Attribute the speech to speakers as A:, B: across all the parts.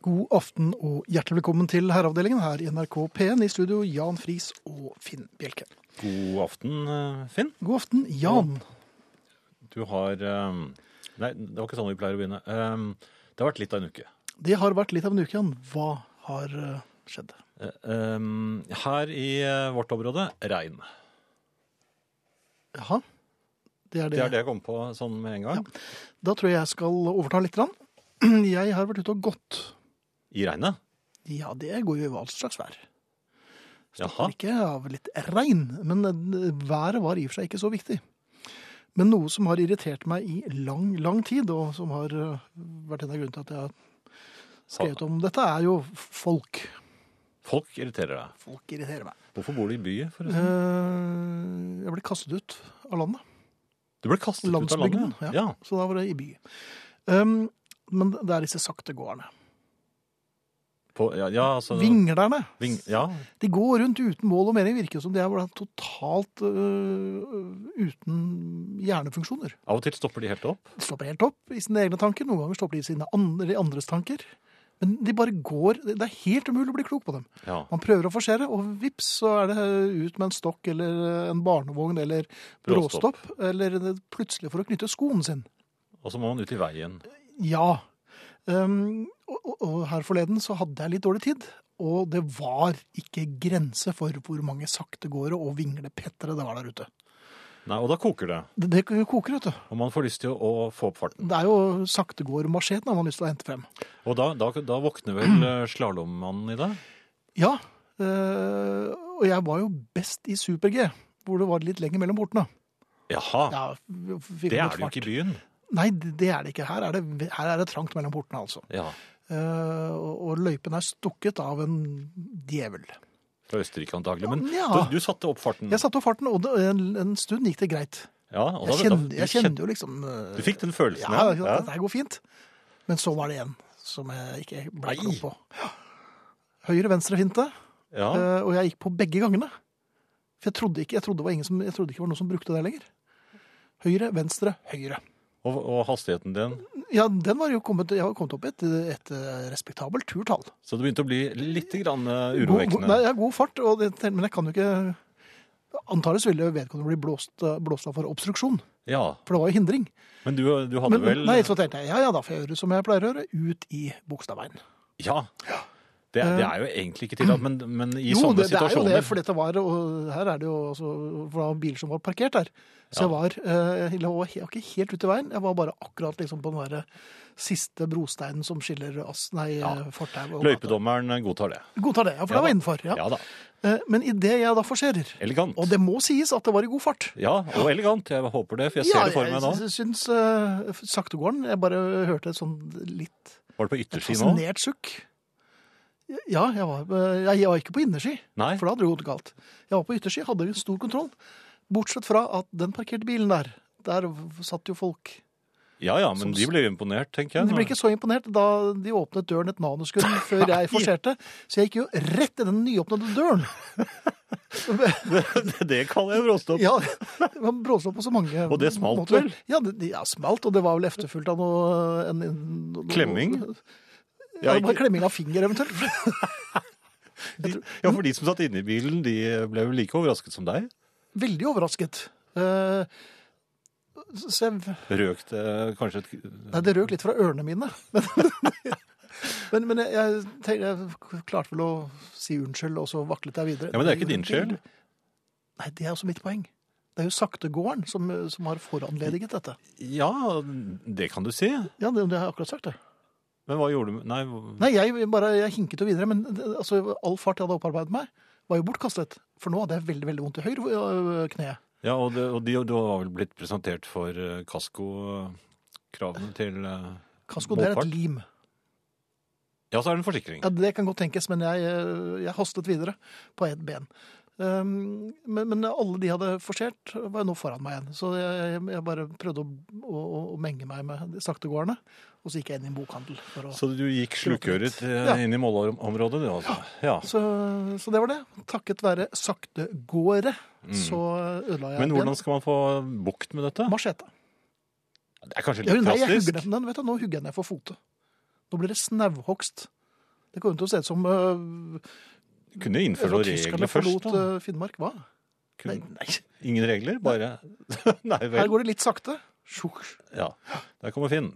A: God aften og hjertelig velkommen til Herreavdelingen her i NRK P1. I studio Jan Friis og Finn Bjelke.
B: God aften, eh, Finn.
A: God aften, Jan.
B: Du har eh, Nei, det var ikke sånn vi pleier å begynne. Eh, Det har vært litt av en uke.
A: Det har vært litt av en uke, Jan. Hva har eh, skjedd?
B: Eh, eh, Her i eh, vårt område regn.
A: Jaha. Det er det.
B: Det er det jeg kom på sånn med en gang.
A: Da tror jeg jeg skal overta litt. grann. Jeg har vært ute og gått.
B: I regnet.
A: Ja, det går jo i hva slags vær.
B: Jaha.
A: Stopper ikke av litt regn, men eh, været var i og for seg ikke så viktig. Men noe som har irritert meg i lang, lang tid, og som har eh, vært en av grunnene til at jeg har skrevet om dette, er jo folk.
B: Folk irriterer deg.
A: Folk irriterer meg.
B: Hvorfor bor du i byen, forresten?
A: Eh, Jeg ble kastet ut av landet.
B: Du ble kastet ut av
A: Landsbygden.
B: landet.
A: Ja.
B: ja.
A: Så da var det i by. Um, men det er disse saktegåerne.
B: På, ja, ja, altså,
A: Vinglerne.
B: Ving, ja.
A: De går rundt uten mål og mening. Virker som de er bare totalt øh, uten hjernefunksjoner.
B: Av og til stopper de helt opp.
A: De stopper helt opp i sine egne tanker. Noen ganger stopper de i sine andre, i andres tanker. Men de bare går Det er helt umulig å bli klok på dem.
B: Ja.
A: Man prøver å forsere, og vips, så er det øh, ut med en stokk eller en barnevogn eller
B: Bråstopp.
A: bråstopp. Eller det- plutselig for å knytte skoen sin.
B: Og så må man ut i veien.
A: Ja. Um, og, og- og her forleden så hadde jeg litt dårlig tid, og det var ikke grense for hvor mange saktegåere og vinglepettere det var der ute.
B: Nei, Og da koker det.
A: Det, det koker, vet du.
B: Og man får lyst til å, å få opp farten.
A: Det er jo saktegåermacheten man har lyst til å hente frem.
B: Og da, da, da våkner vel eh, slalåmmannen i deg?
A: Ja, øh, og jeg var jo best i Super-G, hvor det var litt lenger mellom portene.
B: Jaha.
A: Ja,
B: Det er det jo ikke i byen.
A: Nei, det det er det ikke. Her er det, her er det trangt mellom portene, altså.
B: Ja,
A: Eh, og, og løypen er stukket av en djevel.
B: Fra Østerrike antagelig. Men
A: Ja.
B: du, du satte opp farten.
A: Jeg satte opp farten, og det, en, en stund gikk det greit.
B: Ja, og da-
A: Jeg
B: da-
A: kjente,
B: du
A: jeg
B: kjente-
A: kjente jo liksom eh,
B: Du fikk den følelsen,
A: ja,
B: ja.
A: ja,
B: ja.
A: Dette her går fint. Men så var det en som jeg ikke ble
B: Nei.
A: klok på. Ja. Høyre-venstre-finte,
B: ja.
A: Eh, og jeg gikk på begge gangene. For jeg trodde ikke, jeg trodde det var ingen som, jeg trodde ikke det var noen som brukte det lenger. Høyre, venstre, høyre.
B: Og, og hastigheten din.
A: Ja, den var jo kommet, jeg var kommet opp i et, et eh, respektabelt turtall.
B: Så det begynte å bli litt grann eh,
A: God, god, nei,
B: urovekkende.
A: ja, god fart, og det, men jeg kan jo ikke Antakeligvis ville vedkommende bli blåst, eh, blåst av for obstruksjon,
B: Ja,
A: for det var jo hindring.
B: Men du, du hadde
A: Men,
B: vel
A: nei, så tenkte jeg ja, ja, da får jeg gjøre som jeg pleier å gjøre, ut i Bogstadveien.
B: Ja. Det, det er jo egentlig ikke tillatt, men, men i
A: Jo,
B: sånne
A: det, det er jo
B: situasjoner
A: det, for dette var og Her er det jo altså, for det var biler som var parkert der. Så
B: Ja.
A: jeg var, eh, jeg var he- jeg var ikke helt ute i veien, jeg var bare akkurat liksom på den der siste brosteinen som skiller ass, nei, ja. fortau og
B: Løypedommeren godtar det.
A: Godtar det, ja, for
B: Ja
A: det var
B: da.
A: innenfor. Ja.
B: Ja da.
A: Eh, Men idet jeg da forserer,
B: Elegant.
A: og det må sies at det var i god fart
B: Ja, og elegant. Jeg håper det, for jeg ser det for meg nå.
A: jeg syns eh, saktegården Jeg bare hørte et sånn litt
B: Var det på ytterski nå?
A: fascinert sukk. Ja, jeg var, eh, jeg var ikke på innerski,
B: Nei.
A: for da hadde det gått galt. Jeg var på ytterski, hadde jo stor kontroll. Bortsett fra at den parkerte bilen der, der satt jo folk.
B: Ja ja, men de ble jo imponert, tenker jeg.
A: Men de ble ikke så imponert da de åpnet døren et nanosekund før jeg forserte. Så jeg gikk jo rett i den nyåpnede døren.
B: det, det kaller jeg bråstopp.
A: Ja, det var bråstopp på så mange
B: Og det smalt vel?
A: Ja, det ja, smalt, og det var vel efterfulgt av noe en, en, noe-
B: Klemming?
A: Ja, det
B: ikke-
A: var klemming av finger eventuelt.
B: De, ja, for de som satt inne i bilen, de ble jo like overrasket som deg.
A: Veldig overrasket. Eh, så jeg,
B: Røk det kanskje et
A: nei, det røk litt fra ørene mine. Men, men, men jeg, jeg, tenkte- jeg klarte vel å si unnskyld, og så vaklet jeg videre.
B: Ja, men det er ikke din skyld.
A: Nei, det er også mitt poeng. Det er jo saktegården som, som har foranlediget dette.
B: Ja, det kan du si.
A: Ja, det, det har jeg akkurat sagt, det.
B: Men hva gjorde du Nei,
A: Nei, jeg bare jeg hinket jo videre, men det- altså, all fart jeg hadde opparbeidet meg, var jo bortkastet. For nå hadde jeg veldig, veldig vondt i høyre øh, kne.
B: ja, og, det, og de, du var vel blitt presentert for eh, Kasko-kravene til eh,
A: Kasko, det er et
B: Målfart?
A: lim.
B: Ja, så er det en forsikring.
A: Ja, Det kan godt tenkes, men jeg, øh, jeg hastet videre på ett ben. Um, men, men alle de hadde forsert, var jo nå foran meg igjen. Så jeg, jeg bare prøvde å, å, å menge meg med de saktegårdene. Og så gikk jeg inn i en bokhandel. For å, så.
B: Så du gikk slukøret eh,
A: Ja.
B: inn i målområdet, du altså? Ja.
A: Så, det var det. Takket være saktegåere så ødela jeg
B: Mm. Men
A: et
B: hvordan skal man få bukt med dette?
A: ben. Machete.
B: Det er kanskje
A: Ja,
B: litt
A: nei, jeg
B: drastisk?
A: hugger ned den, vet du. Nå hugger jeg ned for fote. Nå blir det snauhogst. Det kommer til å se ut som øh,
B: Kunne jo innføre
A: etter at
B: noen
A: tyskerne
B: regler først.
A: forlot
B: Da.
A: øh, Finnmark. Hva? Nei,
B: Kun,
A: nei,
B: ingen regler, bare Nei
A: her
B: vel.
A: går det litt sakte. Sjuk,
B: Ja, der kommer Finn.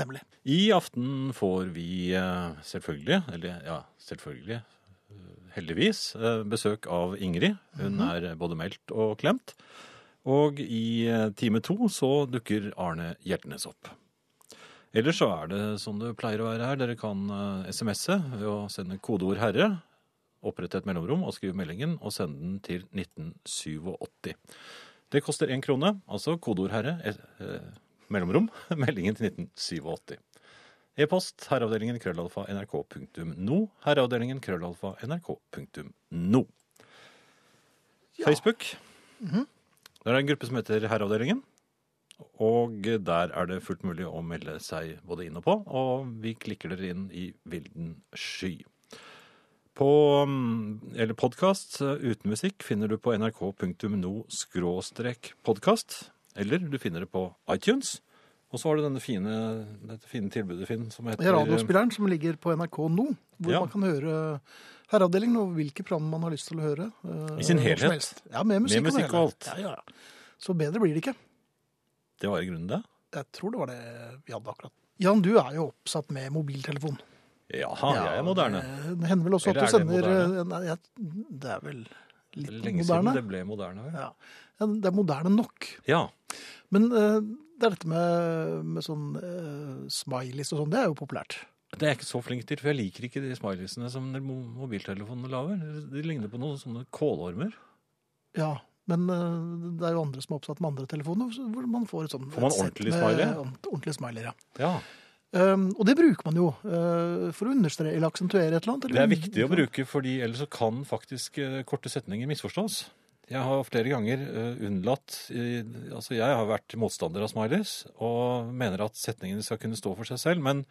A: nemlig.
B: I aften får vi eh, selvfølgelig, eller ja, selvfølgelig, eh, heldigvis, eh, besøk av Ingrid. Hun er både meldt og klemt. Og i eh, time to så dukker Arne Hjertnes opp. Ellers så er det som det pleier å være her. Dere kan eh, SMS-e ved å sende kodeord 'herre', opprette et mellomrom og skrive meldingen, og sende den til 1987. Det koster én krone, altså kodeord 'herre', et, eh, mellomrom, meldingen til 1987. E-post herreavdelingen krøllalfa nrk.no. Herreavdelingen krøllalfa nrk.no. Facebook. Der er det en gruppe som heter Herreavdelingen. Og der er det fullt mulig å melde seg både inn og på, og vi klikker dere inn i vilden sky. På, mm, eller podkast uten musikk finner du på nrk.no-podkast, eller du finner det på iTunes. Og så har du denne fine, dette fine tilbudet, Finn, som heter
A: Radiospilleren som ligger på NRK nå, hvor
B: Ja.
A: man kan høre herreavdelingen og hvilke program man har lyst til å høre. øh,
B: I sin
A: når som
B: helhet.
A: helst. Ja, med musikk,
B: Med musikk
A: det hele.
B: og alt.
A: Ja, ja, ja. Så bedre blir det ikke.
B: Det var i grunnen det.
A: Jeg tror det var det vi hadde akkurat. Jan, du er jo oppsatt med mobiltelefon.
B: Jaha, jeg er moderne.
A: det- Det hender vel også at
B: Eller
A: du
B: er det
A: sender eh,
B: moderne?
A: Nei, jeg, det er vel litt
B: Lenge
A: moderne.
B: siden det ble moderne. vel?
A: Ja. Ja, Det er moderne nok.
B: Ja.
A: Men eh, det er dette med, med sånn eh, smileys og sånn, det er jo populært.
B: Det er jeg ikke så flink til, for jeg liker ikke de smileysene som de mo- mobiltelefonene lager. De ligner på noen sånne kålormer.
A: Ja, men eh, det er jo andre som er oppsatt med andre telefoner, så- hvor man får et sånt
B: Får man
A: et sett
B: ordentlig
A: med
B: smiley?
A: ord- Ordentlig smileyer, ja.
B: Ja,
A: Um, og det bruker man jo eh, for å understreke eller aksentuere et eller annet.
B: Det
A: eller-
B: er viktig å bruke, fordi ellers så kan faktisk eh, korte setninger misforstås. Jeg har flere ganger eh, unnlatt i, Altså, jeg har vært motstander av smileys og mener at setningene skal kunne stå for seg selv, men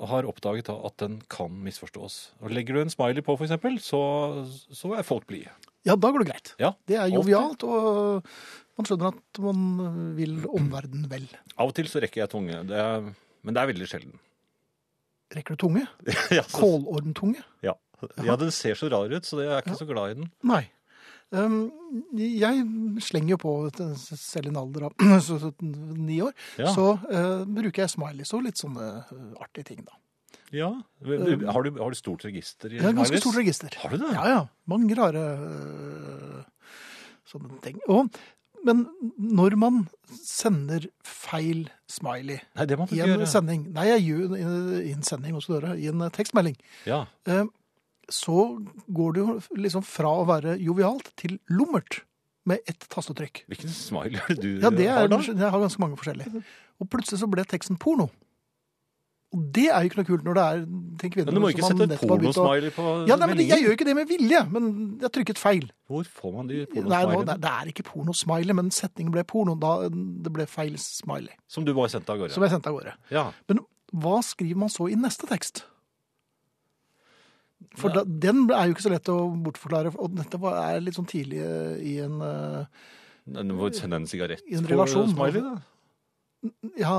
B: har oppdaget da at den kan misforstås. Og Legger du en smiley på, for eksempel, så, så er folk blide.
A: Ja, da går det greit.
B: Ja,
A: Det er
B: alltid.
A: jovialt, og man skjønner at man vil omverdenen vel.
B: Av og til så rekker jeg tunge, det er, men det er veldig sjelden.
A: Rekker du tunge?
B: ja, så,
A: Kålormtunge?
B: ja. ja, den ser så rar ut, så jeg er ikke så glad i den.
A: Nei. Um, jeg slenger jo på, et- selv i en alder av så- så ni år,
B: Ja.
A: så eh, bruker jeg smileys og litt sånne eh, artige ting, da.
B: Ja. Har, du, har du stort register i
A: Jeg har et Um, ganske
B: Smileys?
A: stort register.
B: Har du det?
A: Ja, ja. Mange rare øh, sånne ting. Og, men når man sender feil smiley
B: Nei, det må du
A: i
B: ikke
A: en
B: gjøre.
A: sending Nei, jeg gjør i en sending hos dere, i en tekstmelding.
B: Ja.
A: eh, Så går det jo liksom fra å være jovialt til lummert med ett tastetrykk.
B: Hvilken smile er det du
A: Ja, det er,
B: har da?
A: jeg har ganske mange forskjellige. Og plutselig så ble teksten porno. Og det er jo ikke noe kult når det er til kvinner
B: Men du må
A: som
B: ikke
A: man
B: sette et
A: nettopp har begynt å-
B: pornosmiley på
A: ja, nei, men det-
B: meldingen.
A: Jeg gjør jo ikke det med vilje, men jeg trykket feil.
B: Hvor får man de
A: Nei, nå,
B: pornosmileyene?
A: det, det er ikke pornosmiley, men setningen ble porno. Da det ble feil smiley,
B: Som du bare sendte av gårde?
A: som jeg sendte av gårde.
B: Ja.
A: Men hva skriver man så i neste tekst? For da,
B: Ja.
A: den er jo ikke så lett å bortforklare. Og dette var, er litt sånn tidlig eh, i en eh,
B: Nei, Du må sende en sigarett
A: I en relasjon. altså.
B: smiley, da.
A: Ja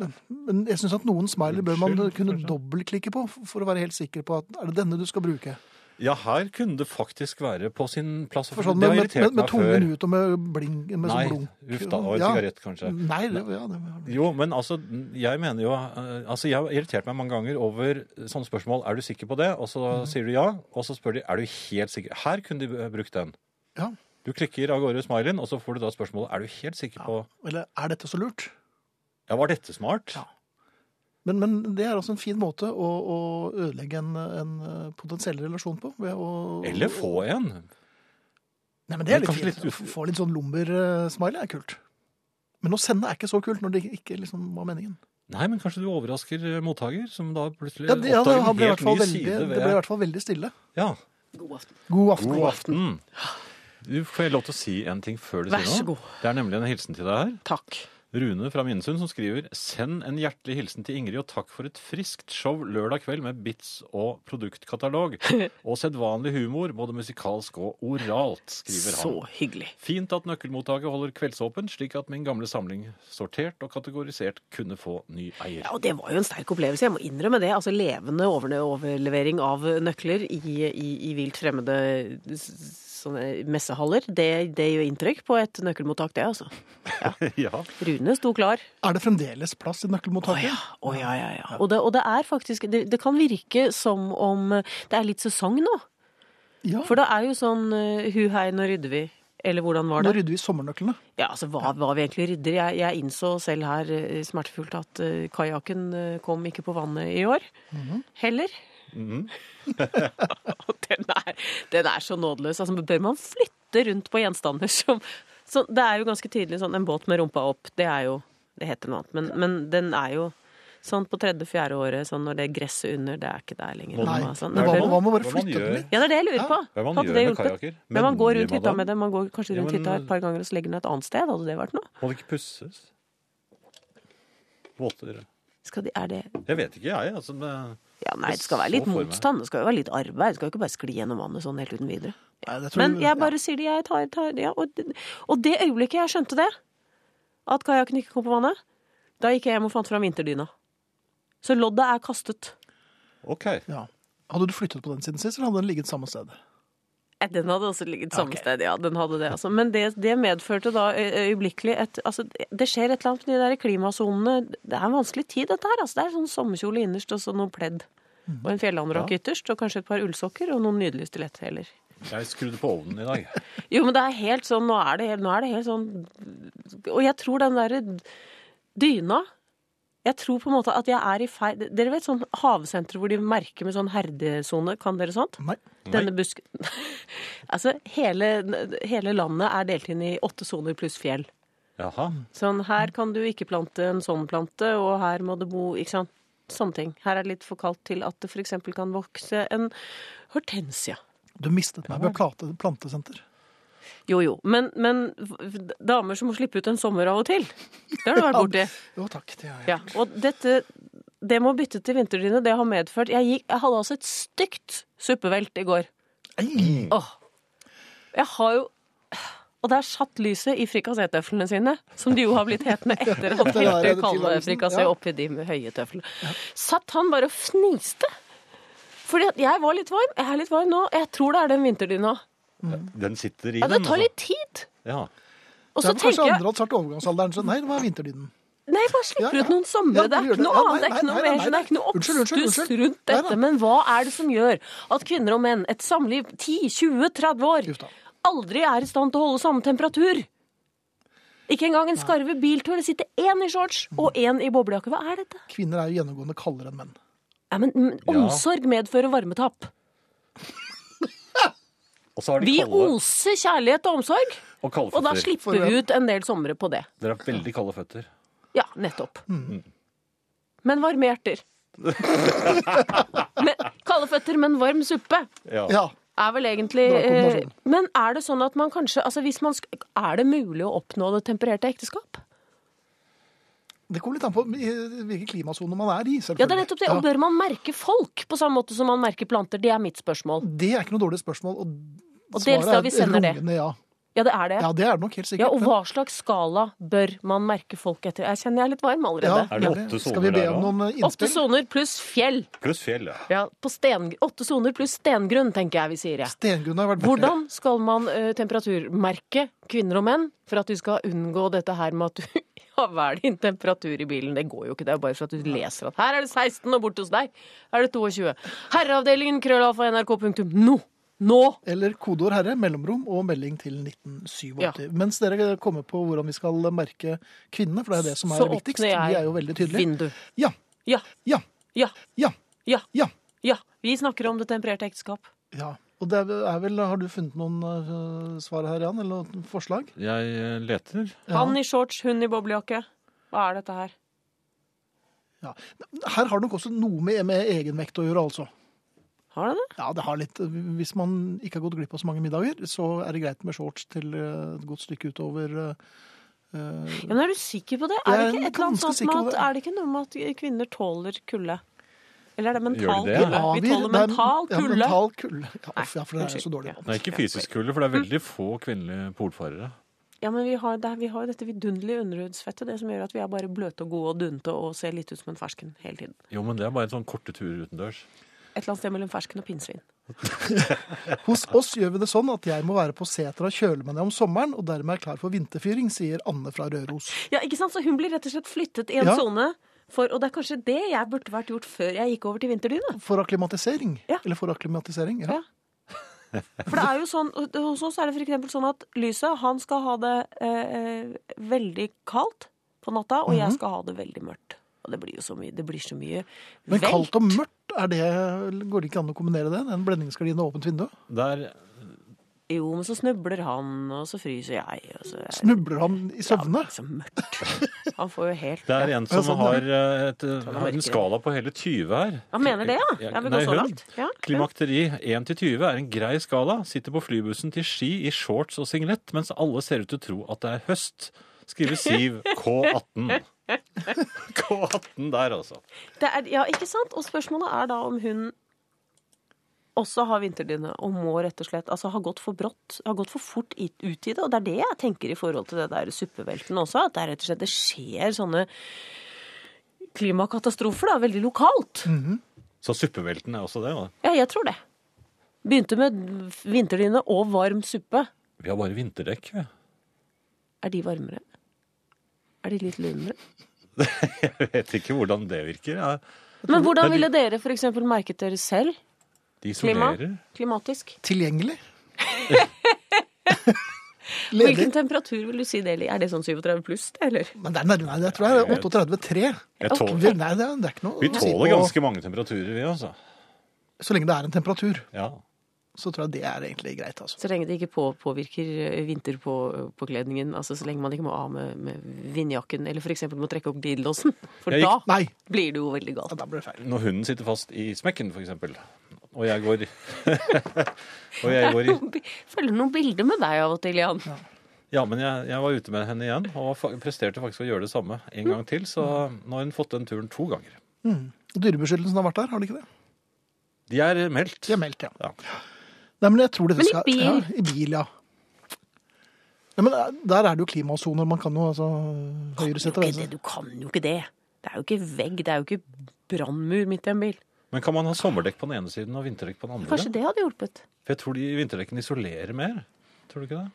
A: men, men jeg syns at noen smiley bør man
B: Unnskyld,
A: kunne
B: kanskje?
A: dobbeltklikke på for å være helt sikker på at er det denne du skal bruke.
B: Ja, her kunne det faktisk være på sin plass.
A: For sånn,
B: det
A: med,
B: har
A: med,
B: irritert
A: med, med
B: meg før.
A: tungen ut og med, bling, med
B: Nei,
A: sånn blunk.
B: uff da. Og en
A: Ja.
B: sigarett, kanskje.
A: Nei, det, ja, det,
B: Jo, men altså, jeg mener jo eh, Altså, jeg har irritert meg mange ganger over sånne spørsmål. Er du sikker på det? Og så sier du ja, og så spør de er du helt sikker. Her kunne de eh, brukt den.
A: ja.
B: Du klikker av gårde smileyen, og så får du da spørsmålet er du helt sikker på
A: Eller er dette så lurt?
B: Ja, var dette smart?
A: Ja. Men, men det er altså en fin måte å, å ødelegge en, en eh, potensiell relasjon på. Ved å,
B: Eller få en.
A: Nei, men det er
B: Men
A: litt
B: kanskje
A: fint.
B: litt ut-
A: Få litt sånn lummer-smiley er kult. Men å sende er ikke så kult når det ikke liksom var meningen.
B: Nei, men kanskje du overrasker eh, mottaker, som da plutselig
A: Ja, det, ja, det,
B: oppdager en
A: ble i hvert
B: helt
A: fall
B: ny
A: veldig,
B: side
A: det
B: ved
A: ble i hvert fall veldig stille.
B: Ja.
C: God aften.
A: God aften.
B: God aften. Du får jeg lov til å si en ting før du
C: Vær
B: sier
C: så
B: noe.
C: god.
B: Det er nemlig en hilsen til deg her.
C: Takk.
B: Rune fra Minnesund som skriver Send en hjertelig hilsen til Ingrid og takk for et friskt show lørdag kveld med bits og produktkatalog. Og sedvanlig humor, både musikalsk og oralt, skriver
C: Så
B: han.
C: hyggelig.
B: Fint at nøkkelmottaket holder kveldsåpen, slik at min gamle samling sortert og kategorisert kunne få ny eier.
C: Ja, og Det var jo en sterk opplevelse, jeg må innrømme det. Altså Levende overne- overlevering av nøkler i, i, i vilt fremmede s- sånne messehaller, det, det gjør inntrykk på et nøkkelmottak, det altså.
B: Ja.
C: Rune sto klar.
A: Er det fremdeles plass i
C: Å
A: nøkkelmottaket?
C: ja, å ja, ja, ja. Og det, og det er faktisk det, det kan virke som om det er litt sesong nå.
A: ja.
C: For det er jo sånn eh, hu hei, nå rydder vi. Eller hvordan var
A: Nå
C: det?
A: rydder vi sommernøklene.
C: Ja, altså hva, hva vi egentlig rydder. Jeg, jeg innså selv her eh, smertefullt at eh, kajakken eh, kom ikke på vannet i år.
A: Mhm.
C: Heller. Og den, er, den er så nådeløs. Altså, bør man flytte rundt på gjenstander som så Det er jo ganske tydelig sånn en båt med rumpa opp, det er jo Det heter noe annet. Men, men den er jo sånn på tredje-fjerde året, sånn når det gresset under, det er ikke der lenger.
A: Nei,
C: Altså,
A: hva,
C: når det-
A: hva med å bare
B: Hva man
A: flytte
B: gjør.
A: den litt?
C: ja, det er det jeg lurer på.
B: Hva er det man
C: Hadde
B: gjør
C: det
B: med
C: hjulpet?
B: kajakker?
C: Men man går rundt
B: Menyer,
C: hytta med
B: madam?
C: dem, man går kanskje
B: Ja,
C: rundt
B: men- eh,
C: hytta et par ganger og så legger den et annet sted. Hadde det vært noe?
B: Må det ikke pusses? Våtere.
C: Skal de, er det
B: Jeg vet ikke, jeg. Altså, men-
C: Ja, nei, det skal være
B: Så
C: litt
B: for meg.
C: motstand, det skal jo være litt arbeid. Det skal jo ikke bare skli gjennom vannet sånn helt uten videre.
A: Nei, det tror
C: Men jeg
A: ja.
C: bare sier det, jeg tar, tar ja, og, og det øyeblikket jeg skjønte det, at kajakken ikke kom på vannet, da gikk jeg hjem og fant fram vinterdyna. Så loddet er kastet.
B: OK.
A: ja. Hadde du flyttet på den siden sist, eller hadde den ligget samme sted?
C: Eh, Den hadde også ligget samme
A: Ok.
C: sted, ja. den hadde det altså. Men det, det medførte da øy- øyeblikkelig et altså, Det skjer et eller annet med de der klimasonene. Det er en vanskelig tid, dette her. altså. Det er sånn sommerkjole innerst og så noe pledd. Og en fjellandrakk ytterst, og kanskje et par ullsokker og noen nydelige stiletthæler.
B: Jeg skrudde på ovnen i dag.
C: Jo, men det er helt sånn, nå er det helt, nå er det helt sånn Og jeg tror den derre dyna Jeg tror på en måte at jeg er i feil Dere vet sånn havsenter hvor de merker med sånn herdesone, kan dere sånt?
A: Nei.
C: Denne busk... altså, hele, hele landet er delt inn i åtte soner pluss fjell.
B: Jaha.
C: Sånn, her kan du ikke plante en sånn plante, og her må det bo Ikke sant? Sånne ting. Her er det litt for kaldt til at det f.eks. kan vokse en hortensia.
A: Du mistet meg ved plate, plantesenter.
C: Jo, jo. Men, men v- damer som må slippe ut en sommer av og til, det har du vært borti.
A: Jo takk, det har jeg.
C: Ja, og dette, det med å bytte til vinterdyne, det har medført jeg, gikk, jeg hadde altså et stygt suppevelt i går.
A: Ei,
C: Åh. Jeg har jo Og der satt lyset i frikassé-tøflene sine, som de jo har blitt hetende etter at
A: det er
C: Hilde
A: det
C: Kalve
A: tilværelsen,
C: frikassé
A: ja.
C: oppi de med høye tøflene. Satt han bare og fniste? Fordi at jeg var litt varm. Jeg er litt varm nå. Jeg tror det er den vinterdyna.
B: Den sitter i
C: Ja, det
B: den.
C: tar
B: altså.
C: litt tid.
B: Ja.
C: Og
A: Det
C: så
A: er vel kanskje
C: tenker jeg
A: andre hadde svart overgangsalderen, så sånn, nei, det var vinterdyden.
C: Nei, bare slipp
A: Ja, ja.
C: ut noen somre.
A: Ja,
C: det er
A: gjør
C: ikke
A: det.
C: noe
A: Ja, nei,
C: annet. Det er ikke
A: nei,
C: noe
A: nei,
C: mer.
A: nei,
C: Det er ikke noe
A: nei. Unnskyld, unnskyld,
C: oppstuss
A: unnskyld.
C: rundt
A: Nei,
C: dette.
A: nei.
C: Men hva er det som gjør at kvinner og menn, et samliv 10-20-30 år,
A: Uff da.
C: aldri er i stand til å holde samme temperatur? Ikke engang en skarve biltur. Det sitter én i shorts og én i boblejakke. Hva er dette?
A: Kvinner er jo gjennomgående kaldere enn menn.
C: Nei, men, men
B: Ja.
C: Omsorg medfører varmetap.
B: Og så har de
C: Vi
B: kalde
C: oser kjærlighet og omsorg,
B: og kalde
C: og da
B: føtter.
C: slipper vi ut en del somre på det.
B: Dere har veldig kalde føtter.
C: Ja, nettopp. Men varme hjerter. men, kalde føtter, men varm suppe
B: Ja.
A: Ja.
C: er vel egentlig
A: Bra
C: eh,
A: kombinasjon.
C: Men er det sånn at man kanskje altså hvis man sk Er det mulig å oppnå det tempererte ekteskap?
A: Det kommer litt an på i hvilken klimasone man er i, selvfølgelig.
C: Ja, det er nettopp det. Og bør man merke folk på samme måte som man merker planter? Det er mitt spørsmål.
A: Det er ikke noe dårlig spørsmål. Og,
C: Og dels
A: svaret
C: da vi sender det.
A: rungende Ja.
C: Ja, det er det.
A: ja, det er det nok helt
C: Ja,
A: sikkert.
C: Og hva slags skala bør man merke folk etter? Jeg kjenner jeg er litt varm allerede.
B: Er det
A: nemlig. Skal
B: åtte soner
A: vi be
B: der,
A: om
B: da?
A: noen
C: Åtte
A: innspill?
C: soner pluss fjell.
B: Pluss fjell, ja.
C: Ja, på sten Åtte soner pluss stengrunn, tenker jeg vi sier. Jeg.
A: Stengunn har vært borte.
C: Hvordan skal man eh, temperaturmerke kvinner og menn for at du skal unngå dette her med at du har hver din temperatur i bilen? Det går jo ikke, det er bare for at du leser at her er det 16, og borte hos deg er det 22. Herreavdelingen krøllalfa nrk.no. Nå!
A: Eller kodeord herre, mellomrom og melding til 1987.
C: Ja.
A: Mens dere kommer på hvordan vi skal merke kvinnene, for det er det som er
C: Så
A: det viktigst.
C: åpner jeg
A: Vi er jo veldig tydelige.
C: Vindu.
A: Ja,
C: Ja,
A: ja,
C: ja,
A: ja,
C: ja,
A: ja.
C: ja. Vi snakker om det tempererte ekteskap.
A: ja. Og det er vel, Har du funnet noen øh, svar her, Jan? Eller noen forslag?
B: Jeg eh, leter.
C: Han i shorts, hun i boblejakke. Hva er dette her?
A: Ja. Her har det nok også noe med, med egenvekt å gjøre, altså.
C: Har det det?
A: Ja, det har litt. Hvis man ikke har gått glipp av så mange middager, så er det greit med shorts til eh, et godt stykke utover eh, Eh,
C: Ja, men er du sikker på det?
A: Jeg
C: Er det
A: er
C: ikke, et eller
A: ganske
C: annet sånt
A: sikker på
C: med at,
A: det.
C: er det ikke noe med at kvinner tåler kulde? Eller er det mental
B: Gjør de det?
C: kulde?
A: avir-
C: Vi tåler
A: det er-
C: mental
A: Ja,
C: kulde.
A: mental kulde. Ja,
C: Nei,
A: uff, ja, for det er jo
C: unnskyld.
A: så dårlig.
C: Ja.
B: Nei, ikke fysisk kulde, for det er veldig få kvinnelige polfarere.
C: Ja, men vi har, det, er- vi har jo dette vidunderlige underhudsfettet, det som gjør at vi er bare bløte og gode og dunte og ser litt ut som en fersken hele tiden.
B: Jo, men det er bare en sånn korte turer utendørs.
C: Et eller annet sted mellom fersken og pinnsvin.
A: Hos oss gjør vi det sånn at jeg må være på setra og kjøle meg ned om sommeren, og dermed er klar for vinterfyring, sier Anne fra Røros.
C: Ja, ikke sant? Så hun blir rett og slett flyttet i en
A: Ja.
C: sone. For, og det er kanskje det jeg burde vært gjort før jeg gikk over til vinterdyne.
A: For akklimatisering.
C: Ja.
A: Eller for akklimatisering, ja.
C: Ja. For det er jo sånn, hos oss er det for eksempel sånn at lyset, han skal ha det eh, veldig kaldt på natta, og
A: Mhm.
C: jeg skal ha det veldig mørkt. Og det blir jo så mye, det blir så mye
A: Men
C: velt.
A: kaldt og mørkt, er det, går det ikke an å kombinere det? En blendingsgardin og åpent vindu?
B: Der
C: Jo, men så snubler han, og så fryser jeg, og så er
A: Snubler han i søvne?
C: det så mørkt. Han får jo helt...
B: Det er en som
A: Ja, sånn, ja.
B: har, eh, et, eh, har en
C: merker
B: skala på hele 20 her.
C: Han mener det, ja. Jeg vil gå
B: Nei,
C: så
B: hun.
C: langt. Ja.
B: Klimakteri 1 til 20 er en grei skala. Sitter på flybussen til Ski i shorts og singlet, mens alle ser ut til å tro at det er høst. Skriver Siv K18. K18 der, altså.
C: Det er, ja, ikke sant? Og spørsmålet er da om hun også har vinterdyne og må rett og slett altså har gått for brått, har gått for fort i- ut i det. Og det er det jeg tenker i forhold til det der suppevelten også, at det er rett og slett det skjer sånne klimakatastrofer da, veldig lokalt.
B: Så suppevelten er også det. Da.
C: Ja, jeg tror det. Begynte med vinterdyne og varm suppe.
B: Vi har bare vinterdekk. vi.
C: Er de varmere? Er de litt lunere?
B: Jeg vet ikke hvordan det virker. Ja.
C: Men hvordan
B: Men vi-
C: ville dere for eksempel merket dere selv
B: De
C: klima?
B: solerer.
C: Klimatisk?
A: Tilgjengelig?
C: Hvilken
A: Ledig?
C: temperatur vil du si det i? Er det sånn 37 pluss, det, eller?
A: Men det er nærmere, nei, jeg tror det er 38,3.
B: Jeg tåler,
A: Vi- Nei, det er, det er ikke noe
B: vi
A: å si
B: tåler
A: på-
B: ganske mange temperaturer, vi, altså.
A: Så lenge det er en temperatur,
B: Ja.
A: så tror jeg det er egentlig greit, altså.
C: Så lenge det ikke på, påvirker eh, vinterpåkledningen, altså så lenge man ikke må av med, med vindjakken, eller f.eks. må trekke opp glidelåsen, for
B: Jeg gikk-
C: da
A: Nei,
C: blir det jo veldig
A: ja,
C: galt.
A: da ble det feil.
B: Når hunden sitter fast i smekken, for eksempel, og jeg går, og jeg går i
C: Følger noen bilder med deg av og til, Jan.
B: Ja, men jeg, jeg var ute med henne igjen, og fa presterte faktisk å gjøre det samme en gang til. Så nå har hun fått den turen to ganger.
A: Dyrebeskyttelsen har vært der, har de ikke det?
B: De er meldt.
A: De er meldt, ja.
B: Ja.
A: Nei, men jeg tror dette
C: Men i
A: skal
C: bil?
A: Ja, I bil, ja. Nei, men eh, der er det jo klimasoner. Man kan jo altså høyre
C: Du
A: sette
C: kan, jo
A: og venstre.
B: altså?
C: ikke det, du kan jo ikke det. Det er jo ikke vegg, det er jo ikke brannmur midt i en bil.
B: Men kan man ha sommerdekk på den ene siden og vinterdekk på den andre?
C: Kanskje det hadde hjulpet.
B: For jeg tror de vinterdekkene isolerer mer. Tror du ikke det?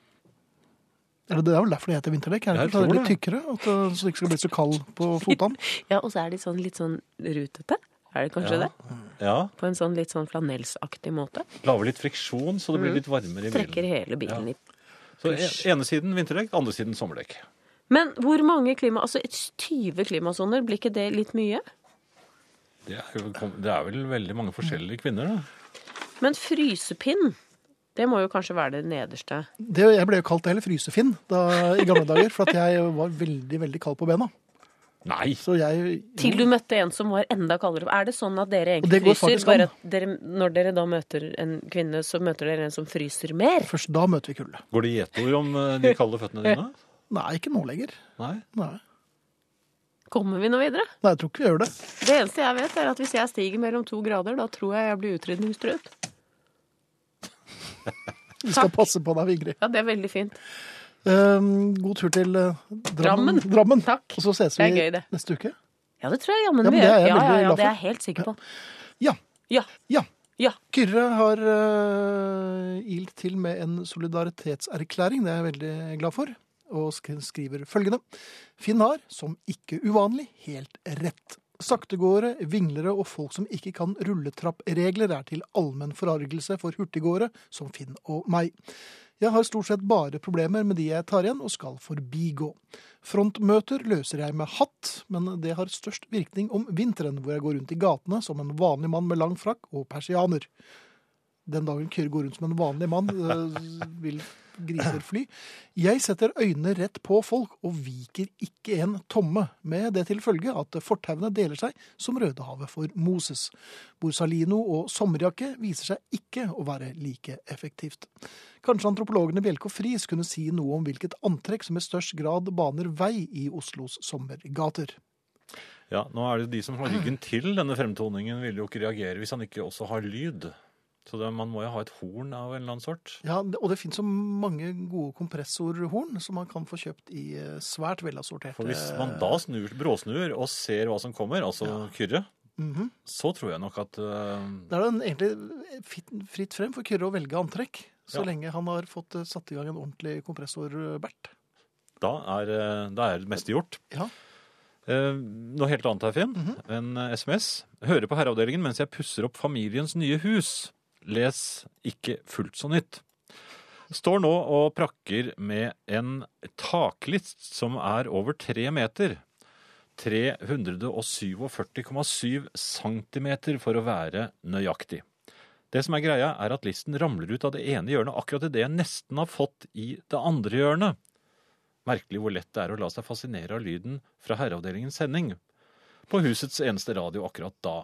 A: Eller det er vel derfor det heter vinterdekk. Er det
B: Jeg
A: ikke? Så det
B: tror
A: er litt tykkere, at det- så det ikke skal bli så kald på fotene.
C: Ja, og så er de sånn litt sånn rutete. Er det kanskje
B: ja.
C: det?
B: Ja.
C: På en sånn litt sånn flanellsaktig måte.
B: Lager litt friksjon, så det blir litt varmere i
C: Trekker
B: bilen.
C: hele bilen i
B: Så e- ene siden vinterdekk, andre siden sommerdekk.
C: Men hvor mange klima... Altså 20 klimasoner, blir ikke det litt mye?
B: Det er, jo, kom- det er vel veldig mange forskjellige kvinner, da.
C: Men frysepinn, det må jo kanskje være det nederste.
A: Det, jeg ble jo kalt det hele frysefinn da, i gamle dager, for at jeg var veldig, veldig kald på bena.
B: Nei!
A: Så jeg
C: Til du møtte en som var enda kaldere. Er det sånn at
A: Og
C: dere egentlig
A: det går
C: fryser,
A: faktisk an.
C: bare at dere, når dere da møter en kvinne, så møter dere en som fryser mer?
A: Først da møter vi kulde.
B: Går det gjetord om eh, de kalde føttene dine?
A: Nei, ikke nå lenger.
B: Nei?
A: Nei.
C: Kommer vi nå videre?
A: Nei, jeg tror ikke vi gjør det.
C: Det eneste jeg vet, er at hvis jeg stiger mellom to grader, da tror jeg jeg blir utrydningstruet.
A: Vi skal
C: Takk.
A: passe på deg, Vigrid.
C: Ja, det er veldig fint.
A: Eh, god tur til eh, Drammen.
C: Drammen.
A: Drammen.
C: Takk.
A: Og så ses
C: Det er
A: vi
C: gøy, det.
A: neste uke.
C: Ja, det tror jeg jammen
A: Ja,
C: vi
A: men det
C: gjør.
A: er jeg
C: Ja, ja,
A: veldig
C: ja,
A: glad
C: det er
A: for.
C: jeg helt sikker på.
A: Ja.
C: Ja.
A: Ja.
C: Ja.
A: Kyrre har uh, ilt til med en solidaritetserklæring, det er jeg veldig glad for, og sk skriver følgende. Finn har, som ikke uvanlig, helt rett. Saktegåere, vinglere og folk som ikke kan rulletrappregler er til allmenn forargelse for hurtiggåere som Finn og meg. Jeg har stort sett bare problemer med de jeg tar igjen og skal forbigå. Frontmøter løser jeg med hatt, men det har størst virkning om vinteren, hvor jeg går rundt i gatene som en vanlig mann med lang frakk og persianer. Den dagen Kyrre går rundt som en vanlig mann, øh, vil griser fly. Jeg setter øynene rett på folk og viker ikke en tomme, med det til følge at fortauene deler seg som Rødehavet for Moses. Borsalino og sommerjakke viser seg ikke å være like effektivt. Kanskje antropologene Bjelke og Friis kunne si noe om hvilket antrekk som i størst grad baner vei i Oslos sommergater.
B: Ja, nå er det de som har ryggen til denne fremtoningen, vil jo ikke reagere hvis han ikke også har lyd. Så det, man må jo ha et horn av en eller annen sort.
A: Ja, og det finnes så mange gode kompressorhorn som man kan få kjøpt i eh, svært velassorterte
B: For hvis man da snur, bråsnur og ser hva som kommer, altså Kyrre,
A: Mhm.
B: så tror jeg nok at eh,
A: Da er det egentlig fit- fritt frem for Kyrre å velge antrekk, så
B: Ja.
A: lenge han har fått eh, satt i gang en ordentlig eh, kompressorbert.
B: da er, eh, da er det meste gjort.
A: Ja.
B: Eh, noe helt annet her, Finn. En eh, SMS. Hører på Herreavdelingen mens jeg pusser opp familiens nye hus. Les ikke fullt så nytt. Står nå og prakker med en taklist som er over tre meter. 347,7 centimeter for å være nøyaktig. Det som er greia, er at listen ramler ut av det ene hjørnet akkurat idet jeg nesten har fått i det andre hjørnet. Merkelig hvor lett det er å la seg fascinere av lyden fra Herreavdelingens sending. På husets eneste radio akkurat da.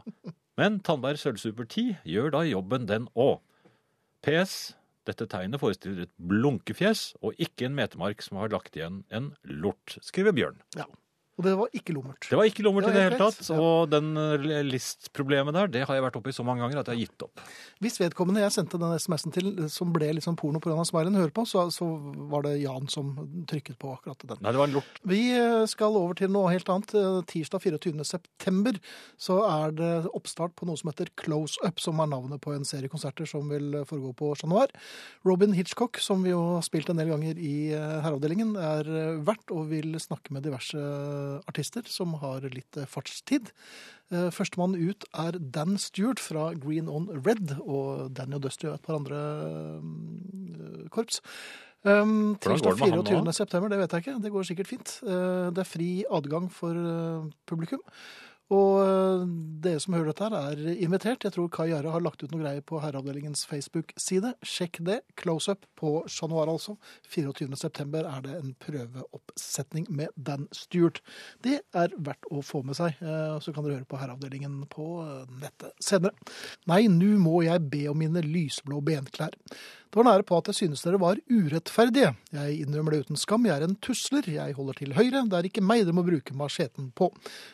B: Men Tandberg Sølvsuper 10 gjør da jobben, den òg. PS. Dette tegnet forestiller et blunkefjes og ikke en metemark som har lagt igjen en lort, skriver Bjørn.
A: ja. Og det var ikke lummert.
B: Det var ikke lommert
A: Ja,
B: i det
A: helt
B: hele
A: rett.
B: tatt, og den eh, listproblemet der, det har jeg vært oppe i så mange ganger at jeg har gitt opp.
A: Hvis vedkommende jeg sendte den SMS-en til, eh, som ble litt sånn porno pga. smileyen, hører på, så, så var det Jan som trykket på akkurat den.
B: Nei, det var en lort.
A: Vi eh, skal over til noe helt annet. Eh, Tirsdag 24. september så er det oppstart på noe som heter Close Up, som er navnet på en serie konserter som vil eh, foregå på Chat Noir. Robin Hitchcock, som vi jo har spilt en del ganger i eh, Herreavdelingen, er eh, vert og vil snakke med diverse eh, artister som har litt eh, fartstid. Eh, Førstemann ut er Dan Stewart fra Green on Red og Danny O'Dusty og et par andre eh, korps. Um,
B: Hvordan
A: tirsdag
B: går det med han nå?
A: 24. september, det vet jeg ikke. Det går sikkert fint. Eh, Det er fri adgang for eh, publikum. Og eh, dere som hører dette her, er invitert. Jeg tror Kai Jara har lagt ut noe greier på Herreavdelingens Facebook-side. Sjekk det. Close up på Chat Noir, altså. 24. september er det en prøveoppsetning med Dan Stewart. Det er verdt å få med seg. Eh, Så kan dere høre på Herreavdelingen på eh, nettet senere. Nei, nu må jeg be om mine lysblå benklær. Det var nære på at jeg synes dere var urettferdige. Jeg innrømmer det uten skam, jeg er en tusler, jeg holder til høyre, det er ikke meg dere må bruke macheten på.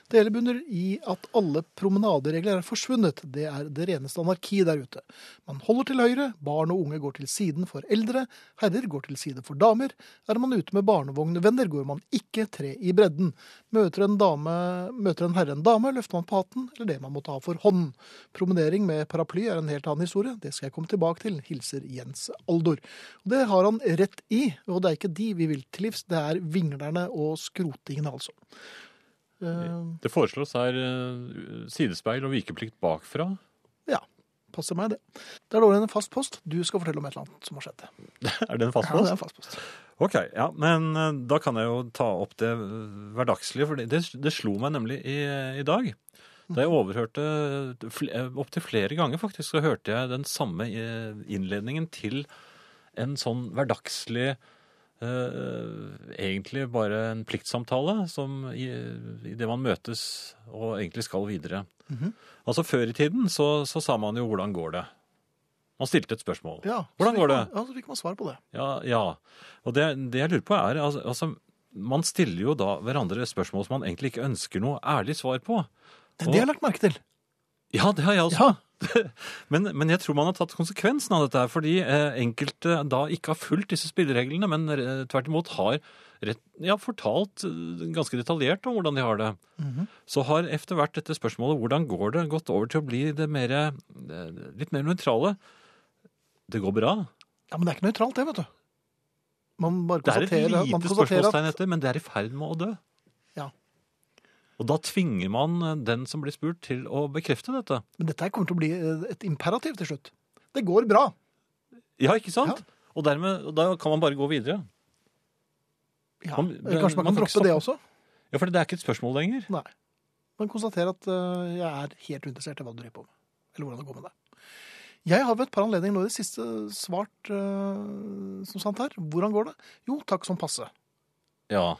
A: Det hele bunner i at alle promenaderegler er forsvunnet, det er det reneste anarki der ute. Man holder til høyre, barn og unge går til siden for eldre, herrer går til side for damer, er man ute med barnevognvenner går man ikke tre i bredden. Møter en, dame, møter en herre en dame, løfter man på hatten, eller det man må ta for hånden. Promenering med paraply er en helt annen historie. Det skal jeg komme tilbake til, hilser Jens Aldor. Og Det har han rett i, og det er ikke de vi vil til livs. Det er vinglerne og skrotingene, altså. Eh,
B: Det foreslås her eh, sidespeil og vikeplikt bakfra.
A: ja, passer meg det. Det er dårlig enn en fast post. Du skal fortelle om et eller annet som har skjedd.
B: Er det en fast
A: Ja, det
B: post?
A: er en fast post.
B: Ok, ja, men eh, da kan jeg jo ta opp det eh, hverdagslige, for det, det- det slo meg nemlig i, i dag. Da jeg overhørte eh, opptil flere ganger faktisk, så hørte jeg den samme eh, innledningen til en sånn hverdagslig, eh, egentlig bare en pliktsamtale, som i, i det man møtes og egentlig skal videre.
A: Mhm.
B: Altså før i tiden så, så sa man jo hvordan går det? Man stilte et spørsmål.
A: Ja, så
B: Hvordan
A: fikk
B: går
A: man-
B: det?
A: Ja, så fikk man svar på det.
B: Ja, ja. og det, det jeg lurer på er, altså, altså, man stiller jo da hverandre spørsmål som man egentlig ikke ønsker noe ærlig svar på.
A: Det,
B: Og-
A: det har jeg lagt merke til.
B: Ja, det har jeg også.
A: Ja,
B: Men, men jeg tror man har tatt konsekvensen av dette, her, fordi eh, enkelte da ikke har fulgt disse spillereglene, men eh, tvert imot har rett, ja, fortalt eh, ganske detaljert om hvordan de har det.
A: Mhm.
B: Så har etter hvert dette spørsmålet hvordan går det, gått over til å bli det mere, eh, litt mer nøytrale. Det går bra.
A: ja men det er ikke nøytralt, det, vet du. Man bare
B: Det er et
A: konstaterer, man
B: lite
A: konstaterer at
B: spørsmålstegn etter, men det er i ferd med å dø.
A: Ja.
B: Og da tvinger man eh, den som blir spurt til å bekrefte dette.
A: Men dette her kommer til å bli eh, et imperativ til slutt. Det går bra.
B: Ja, ikke sant? Og dermed, og da kan man bare gå videre.
A: Ja,
B: Man-
A: eller kanskje man
B: man
A: kan
B: kan ikke
A: droppe det også?
B: Ja, for det er ikke et spørsmål lenger.
A: Nei. Man konstaterer at eh, jeg er helt uinteressert i hva du driver på med. Eller hvordan det går med deg. Jeg har ved et par anledninger nå i det siste svart eh, som sant her. Hvordan går det? Jo, takk som passe.
B: Ja.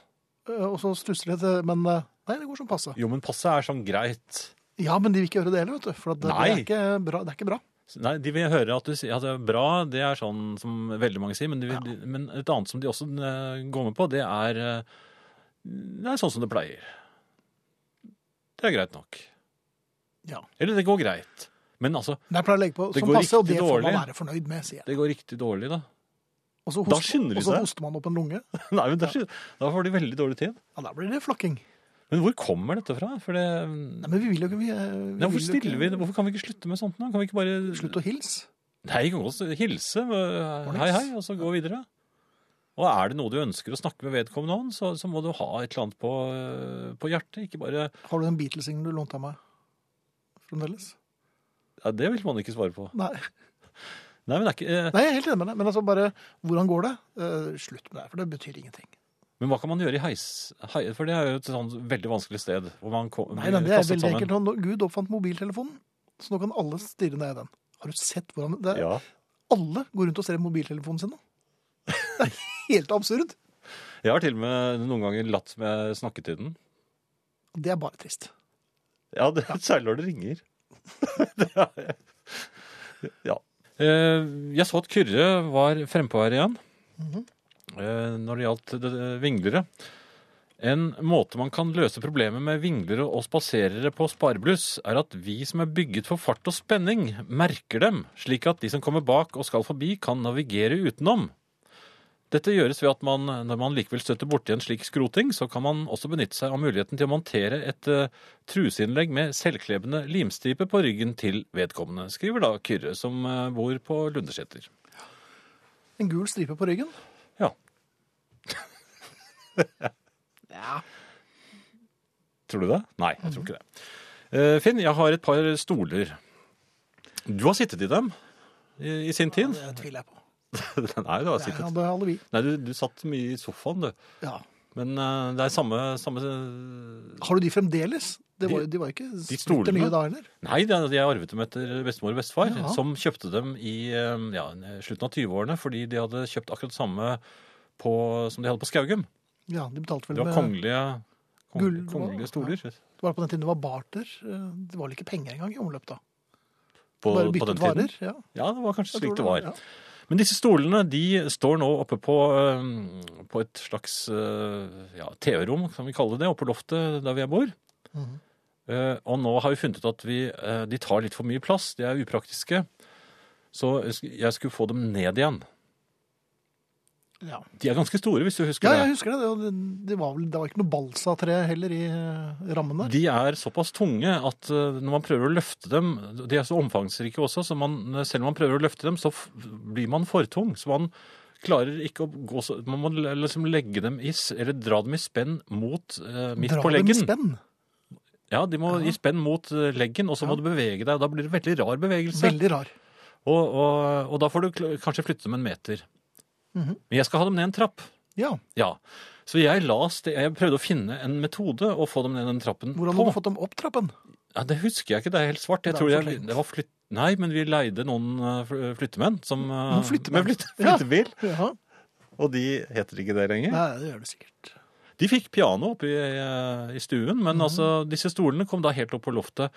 A: Eh, og så stusser de etter, men eh, nei, det går som passe.
B: Jo, men passe er sånn greit.
A: Ja, men de vil ikke gjøre det heller, vet du. For at det, det,
B: Nei.
A: er ikke bra, det er ikke bra.
B: Nei, de vil høre at du sier at det er bra, det er sånn som veldig mange sier, men, de vil, men et annet som de også eh, går med på, det er, eh, det er sånn som det pleier. Det er greit nok.
A: Ja.
B: Eller det går greit. Men altså,
A: Men jeg pleier å legge på
B: Det
A: som
B: går
A: passe, og
B: riktig
A: det får man
B: dårlig.
A: være fornøyd med, sier jeg.
B: det går riktig dårlig da.
A: Og så
B: Da skynder de
A: og så
B: seg.
A: hoster man opp en lunge.
B: Nei, men det er, ikke- da får de veldig dårlig tid.
A: Ja, da blir det flakking.
B: Men hvor kommer dette fra? For det,
A: Nei, men vi vil jo ikke vi, eh, vi
B: Nei,
A: vil
B: hvorfor,
A: jo ikke-
B: stiller vi, hvorfor kan vi ikke slutte med sånt nå? Kan vi ikke bare
A: Slutt å hilse.
B: Nei, vi kan godt hilse. øh, Hei, hei, og så gå videre. Og er det noe du ønsker å snakke med vedkommende om, så, så må du ha et eller annet på, øh, på hjertet. Ikke bare
A: Har du den Beatles-singelen du lånte av meg? Fremdeles?
B: ja, Det vil man ikke svare på.
A: Nei.
B: Nei, men, det er ikke, eh,
A: Nei, jeg er helt enig med deg. Men altså bare, hvordan går det? Eh, slutt med det, for det betyr ingenting.
B: men hva kan man gjøre i heis? Hei, for det er jo et sånn veldig vanskelig sted. Hvor man ko-
A: Nei, nei,
B: blir
A: det er
B: kastet
A: veldig enkelt. Nå- Gud oppfant mobiltelefonen, så nå kan alle stirre ned i den. Har du sett hvordan det er?
B: Ja.
A: Alle går rundt og ser i mobiltelefonen sin nå. Det er helt absurd.
B: Jeg har til og med noen ganger latt med snakketiden.
A: Det er bare trist.
B: Ja, det, særlig når det ringer. det er, ja. Eh, Jeg så at Kyrre var frempå her igjen eh, når det gjaldt det- det- vinglere. En måte man kan løse problemet med vinglere og spaserere på sparebluss, er at vi som er bygget for fart og spenning, merker dem, slik at de som kommer bak og skal forbi, kan navigere utenom. Dette gjøres ved at man, når man likevel støtter borti en slik skroting, så kan man også benytte seg av muligheten til å montere et eh, truseinnlegg med selvklebende limstripe på ryggen til vedkommende, skriver da Kyrre, som eh, bor på Lundeseter.
A: En gul stripe på ryggen.
B: Ja.
A: Ja.
B: Tror du det? Mhm. Nei, jeg tror ikke det. Eh, Finn, jeg har et par stoler. Du har sittet i dem i, i sin tid.
A: Det tviler jeg på.
B: Nei, du har
A: Det
B: sittet.
A: hadde alle vi.
B: Nei, du, du satt mye i sofaen, du.
A: Ja.
B: Men eh, det er samme, samme
A: Har du de fremdeles? Det var,
B: De-
A: jo- de var jo ikke
B: stolene.
A: splitter nye da heller.
B: Nei, det er- jeg arvet dem etter bestemor og bestefar,
A: Ja.
B: som kjøpte dem i eh, ja, slutten av 20-årene, fordi de hadde kjøpt akkurat det samme på, som de hadde på Skaugum.
A: Ja, de betalte vel
B: Det var
A: med
B: kongelige, kong,
A: Gull, det var-
B: kongelige stoler.
A: Bare på den tiden det var barter. eh, Det var vel ikke penger engang i omløp da.
B: På,
A: Bare
B: på
A: byttet
B: den
A: varer.
B: tiden.
A: Ja,
B: Ja, det var kanskje
A: jeg
B: slik
A: tror
B: det var.
A: Ja.
B: Men disse stolene de står nå oppe på, eh, på et slags eh, ja, TV-rom, kan vi kalle det, oppe på loftet der vi bor.
A: Mhm.
B: Eh, Og nå har vi funnet ut at vi, eh, de tar litt for mye plass, de er upraktiske. Så jeg skulle få dem ned igjen.
A: Ja.
B: De er ganske store, hvis du husker
A: ja, jeg
B: det.
A: husker det. og det- Det var, vel, det var ikke noe balsatre heller i eh, rammen der.
B: De er såpass tunge at eh, når man prøver å løfte dem De er så omfangsrike også, så man, selv om man prøver å løfte dem, så f blir man for tung. Så man klarer ikke å gå så Man må le- liksom legge dem i s- Eller dra dem i spenn mot eh, midt
A: Dra
B: på
A: dem i
B: leggen.
A: spenn.
B: Ja, de må
A: Ja.
B: i spenn mot eh, leggen, og så
A: Ja.
B: må du bevege deg. og Da blir det veldig rar bevegelse.
A: Veldig rar.
B: Og, og, og da får du kl- kanskje flytte dem en meter.
A: Mhm.
B: Men jeg skal ha dem ned en trapp.
A: Ja,
B: Ja. Så jeg, la ste- jeg prøvde å finne en metode å få dem ned den trappen
A: Hvordan
B: på.
A: har du fått dem opp trappen?
B: Ja, det husker jeg ikke, det er helt svart. Jeg
A: Det er
B: tror
A: for
B: jeg,
A: lenge.
B: det var flytt... Nei, men vi leide noen eh, fl- flyttemenn som eh,
A: Noen flyttemenn?
B: med flytte-
A: Ja.
B: flyttebil.
A: Ja.
B: Og de heter ikke det lenger.
A: Nei, det gjør det sikkert.
B: De fikk piano oppe i, eh, i stuen, men altså, disse stolene kom da helt opp på loftet.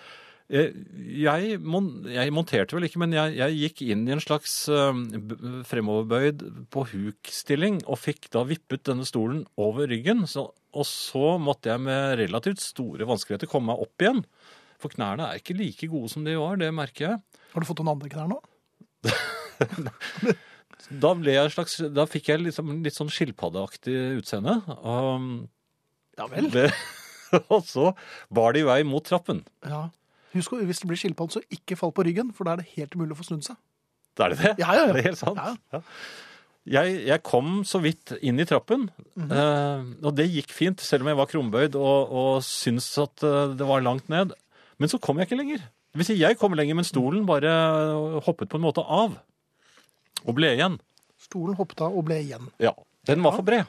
B: Eh, Jeg, mon jeg monterte vel ikke, men jeg, jeg gikk inn i en slags eh, b- fremoverbøyd på huk-stilling og fikk da vippet denne stolen over ryggen. Så, og så måtte jeg med relativt store vanskeligheter komme meg opp igjen. For knærne er ikke like gode som de var, det merker jeg.
A: Har du fått noen andre knær nå?
B: Da, ble jeg en slags, da fikk jeg liksom litt sånn skilpaddeaktig utseende. Um,
A: Ja vel.
B: Det, og så bar de vei mot trappen.
A: Ja. Husk å, hvis det blir skilpadde, så ikke fall på ryggen, for da er det helt umulig å få snudd seg.
B: Er det det?
A: Ja, ja, ja.
B: Er det helt sant?
A: Ja.
B: Ja. Jeg, jeg kom så vidt inn i trappen,
A: Mhm.
B: eh, og det gikk fint, selv om jeg var krumbøyd og, og syntes at eh, det var langt ned. Men så kom jeg ikke lenger. Det vil si, jeg kom lenger, men stolen bare hoppet på en måte av. Og ble igjen.
A: Stolen hoppet av og ble igjen.
B: Ja, den var for bred.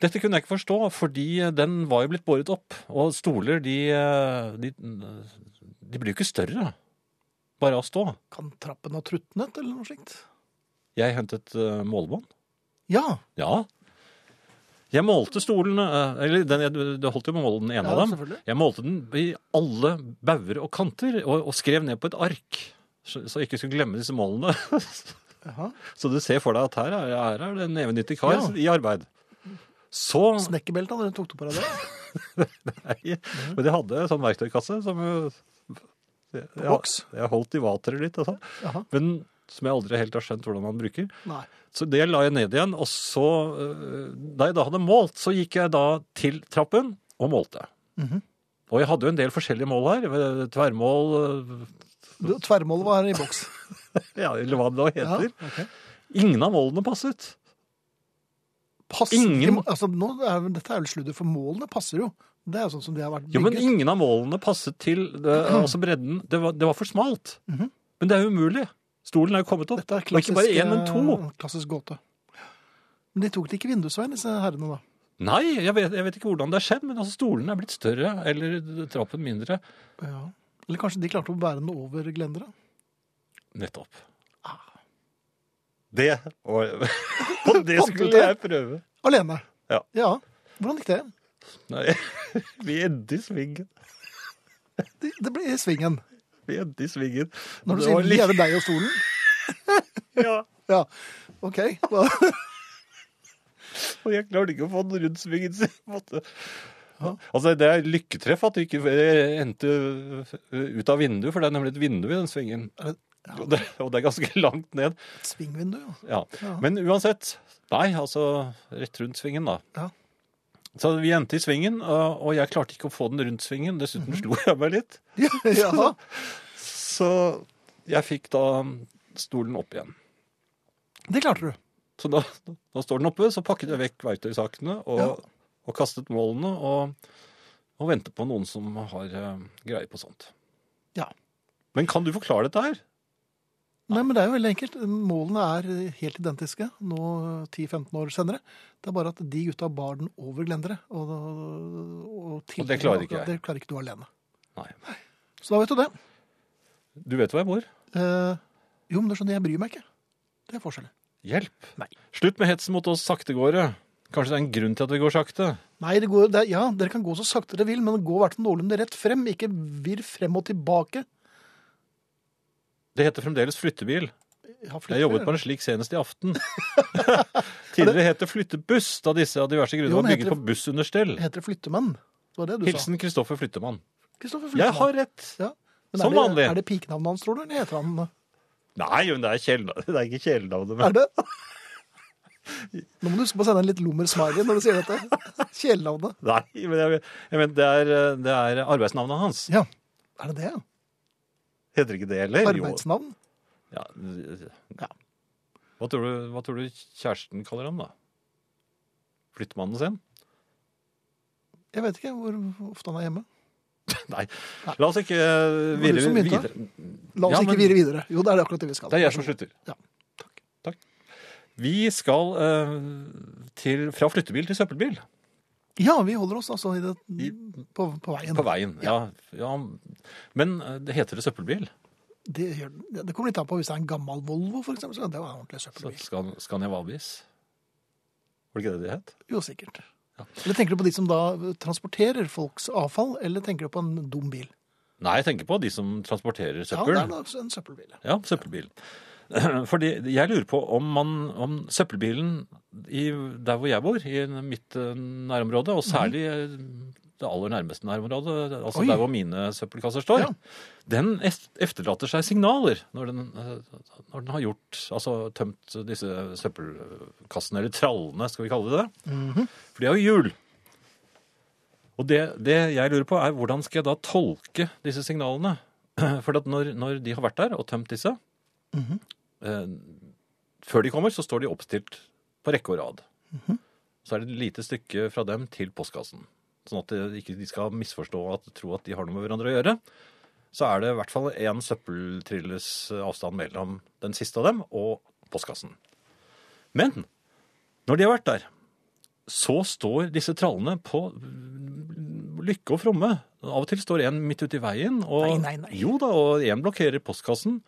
B: Dette kunne jeg ikke forstå, fordi den var jo blitt eh, båret opp. Og stoler, de, de, de blir jo ikke større. Bare av stå.
A: Kan trappen ha trutnet, eller noe slikt?
B: Jeg hentet eh, målebånd.
A: Ja,
B: Ja. Jeg målte stolene eh, Eller den, jeg, du holdt jo på å måle den ene
A: ja
B: av dem.
A: selvfølgelig.
B: Jeg målte den i alle bauger og kanter og, og skrev ned på et ark. Så, så jeg ikke skulle glemme disse målene.
A: Jaha.
B: så du ser for deg at her er, her er det en nevenyttig kar
A: Ja.
B: i arbeid. Så
A: Snekkerbeltet, hadde du tok du på deg det?
B: Nei, men jeg hadde en sånn verktøykasse som jo- jeg,
A: boks?
B: jeg holdt i vateret litt, altså.
A: Jaha.
B: Men som jeg aldri helt har skjønt hvordan man bruker.
A: Nei.
B: Så det la jeg ned igjen, og så øh, Da jeg da hadde målt, så gikk jeg da til trappen og målte.
A: Mhm.
B: Og jeg hadde jo en del forskjellige mål her. øh, Tverrmål, øh,
A: Du, Tverrmålet var i boks.
B: ja, eller hva det da
A: Ja,
B: heter.
A: ok.
B: Ingen av målene passet.
A: Passer
B: Ingen-
A: ikke- Altså, nå er, vel- dette er vel sludder, for målene passer jo. Det er jo sånn som de har vært
B: Jo, men
A: bygget.
B: ingen av målene passet til det, altså bredden. Det var, det var for smalt.
A: Mhm.
B: Men det er jo umulig. Stolen er jo kommet opp.
A: Dette er
B: var ikke
A: klassisk,
B: bare én, men to.
A: eh, klassisk gåte. Men de tok det ikke vindusveien, disse herrene, da.
B: Nei, jeg vet, jeg vet ikke hvordan det har skjedd, men altså stolen er blitt større, eller trappen mindre.
A: Ja. Eller kanskje de klarte å bære den over glendere?
B: Nettopp.
A: Ah.
B: Det og, og det
A: Fant du
B: skulle
A: det?
B: jeg prøve.
A: Alene.
B: Ja.
A: Hvordan gikk det?
B: Nei, vi endte i svingen.
A: Det, det ble i svingen.
B: Vi endte i svingen.
A: Når du
B: Det var
A: sier 'vi er det deg og stolen'?
B: Ja,
A: Ja. OK. Hva?
B: og jeg klarte ikke å få den rundt svingen. Så jeg måtte. Altså, det er lykketreff at du ikke eh, endte eh, ut av vinduet, for det er nemlig et vindu i den svingen.
A: Er det-
B: Og det, og det er ganske langt ned.
A: Et svingvindu, jo.
B: Ja.
A: Ja.
B: Men uansett, nei, altså rett rundt svingen da.
A: Ja.
B: Så vi endte i svingen, og og jeg klarte ikke å få den rundt svingen. Dessuten
A: Mhm.
B: slo jeg meg litt.
A: Ja, ja.
B: Så jeg fikk da stolen opp igjen.
A: Det klarte du.
B: Så da, da står den oppe, så pakket jeg vekk verktøysakene og,
A: Ja.
B: og kastet målene og, og venter på noen som har eh, greie på sånt.
A: Ja.
B: Men kan du forklare dette her?
A: Nei, men det er jo veldig enkelt. Målene er helt identiske nå 10-15 år senere. Det er bare at de gutta bar den over glendere. Og, og,
B: Og det klarer ikke jeg.
A: Det klarer ikke du alene.
B: Nei.
A: Så da vet du det.
B: Du vet hvor jeg bor.
A: Eh, jo, men du skjønner, jeg bryr meg ikke. Det er forskjellen.
B: Hjelp.
A: Nei.
B: Slutt med hetsen mot oss saktegåere. Kanskje det er en grunn til at det går sakte.
A: Nei, det går, det er, ja, dere kan gå så sakte dere vil, men gå i hvert fall noenlunde rett frem. Ikke virr frem og tilbake.
B: Det heter fremdeles flyttebil.
A: Ja,
B: Jeg jobbet på en slik senest i aften. Tidligere het det flyttebuss, da disse av diverse grunner
A: Jo,
B: var
A: men heter
B: bygget på bussunderstell.
A: Heter det flyttemann? Det var det du sa.
B: Hilsen Kristoffer Flyttemann.
A: Kristoffer
B: Jeg
A: Flyttemann.
B: har rett!
A: Ja. Men
B: Som
A: er det,
B: vanlig.
A: Er det pikenavnet hans, tror du? Eller heter han
B: Nei, men det er, kjælenavn- det er ikke kjælenavnet.
A: Er
B: men-
A: det? Nå må du huske på å sende en litt lummer smiley når du sier dette. Kjælenavnet.
B: Nei, men jeg, jeg mener, det, er, eh, det er arbeidsnavnet hans.
A: Ja. Er det det? ja?
B: Heter ikke det heller?
A: Arbeidsnavn?
B: Jo. Ja.
A: Ja.
B: Hva, tror du, hva tror du kjæresten kaller ham, da? Flyttemannen sin?
A: Jeg vet ikke hvor ofte han er hjemme.
B: Nei.
A: Nei.
B: La oss ikke eh,
A: Det var du
B: virre
A: som begynte.
B: videre.
A: La oss
B: Ja, men-
A: ikke vire videre. Jo, det er det akkurat det vi skal.
B: Det er jeg som slutter.
A: Ja.
B: Takk. Vi skal eh, til, fra flyttebil til søppelbil
A: Ja, vi holder oss altså i det,
B: I-
A: på, på veien.
B: på veien. Ja. Ja, Men eh, det heter det søppelbil?
A: Det, gjør, den. det kommer litt an på hvis det er en gammel Volvo, for eksempel. Så kan det være en ordentlig
B: Så
A: søppelbil.
B: Scan Scania Vabis? Var det ikke det det het?
A: Jo, sikkert. Eller tenker du på de som da transporterer folks avfall, eller tenker du på en dum bil?
B: Nei, jeg tenker på de som transporterer
A: Ja,
B: søppel.
A: det er da også en søppelbil. ja.
B: Ja, søppelbil. Fordi jeg lurer på om, man, om søppelbilen i, der hvor jeg bor, i mitt eh, nærområde,
A: Mhm.
B: og særlig eh, det aller nærmeste nærområdet, altså
A: Oi.
B: der hvor mine søppelkasser står,
A: Ja.
B: den es- efterlater seg signaler når den, eh, når den har gjort, altså tømt disse søppelkassene, eller trallene, skal vi kalle det det.
A: Mhm.
B: For de har jo hjul. Og det, det jeg lurer på er hvordan skal jeg da tolke disse signalene? For at når, når de har vært der og tømt disse, eh, før de kommer så står de oppstilt på rekke og rad. Så er det et lite stykke fra dem til postkassen. Sånn at de ikke de skal misforstå og at- tro at de har noe med hverandre å gjøre. Så er det i hvert fall én søppeltrilles avstand mellom den siste av dem og postkassen. Men når de har vært der, så står disse trallene på lykke og fromme. Av og til står en midt ute i veien, og,
A: Nei, nei, nei.
B: Jo da, og en blokkerer postkassen.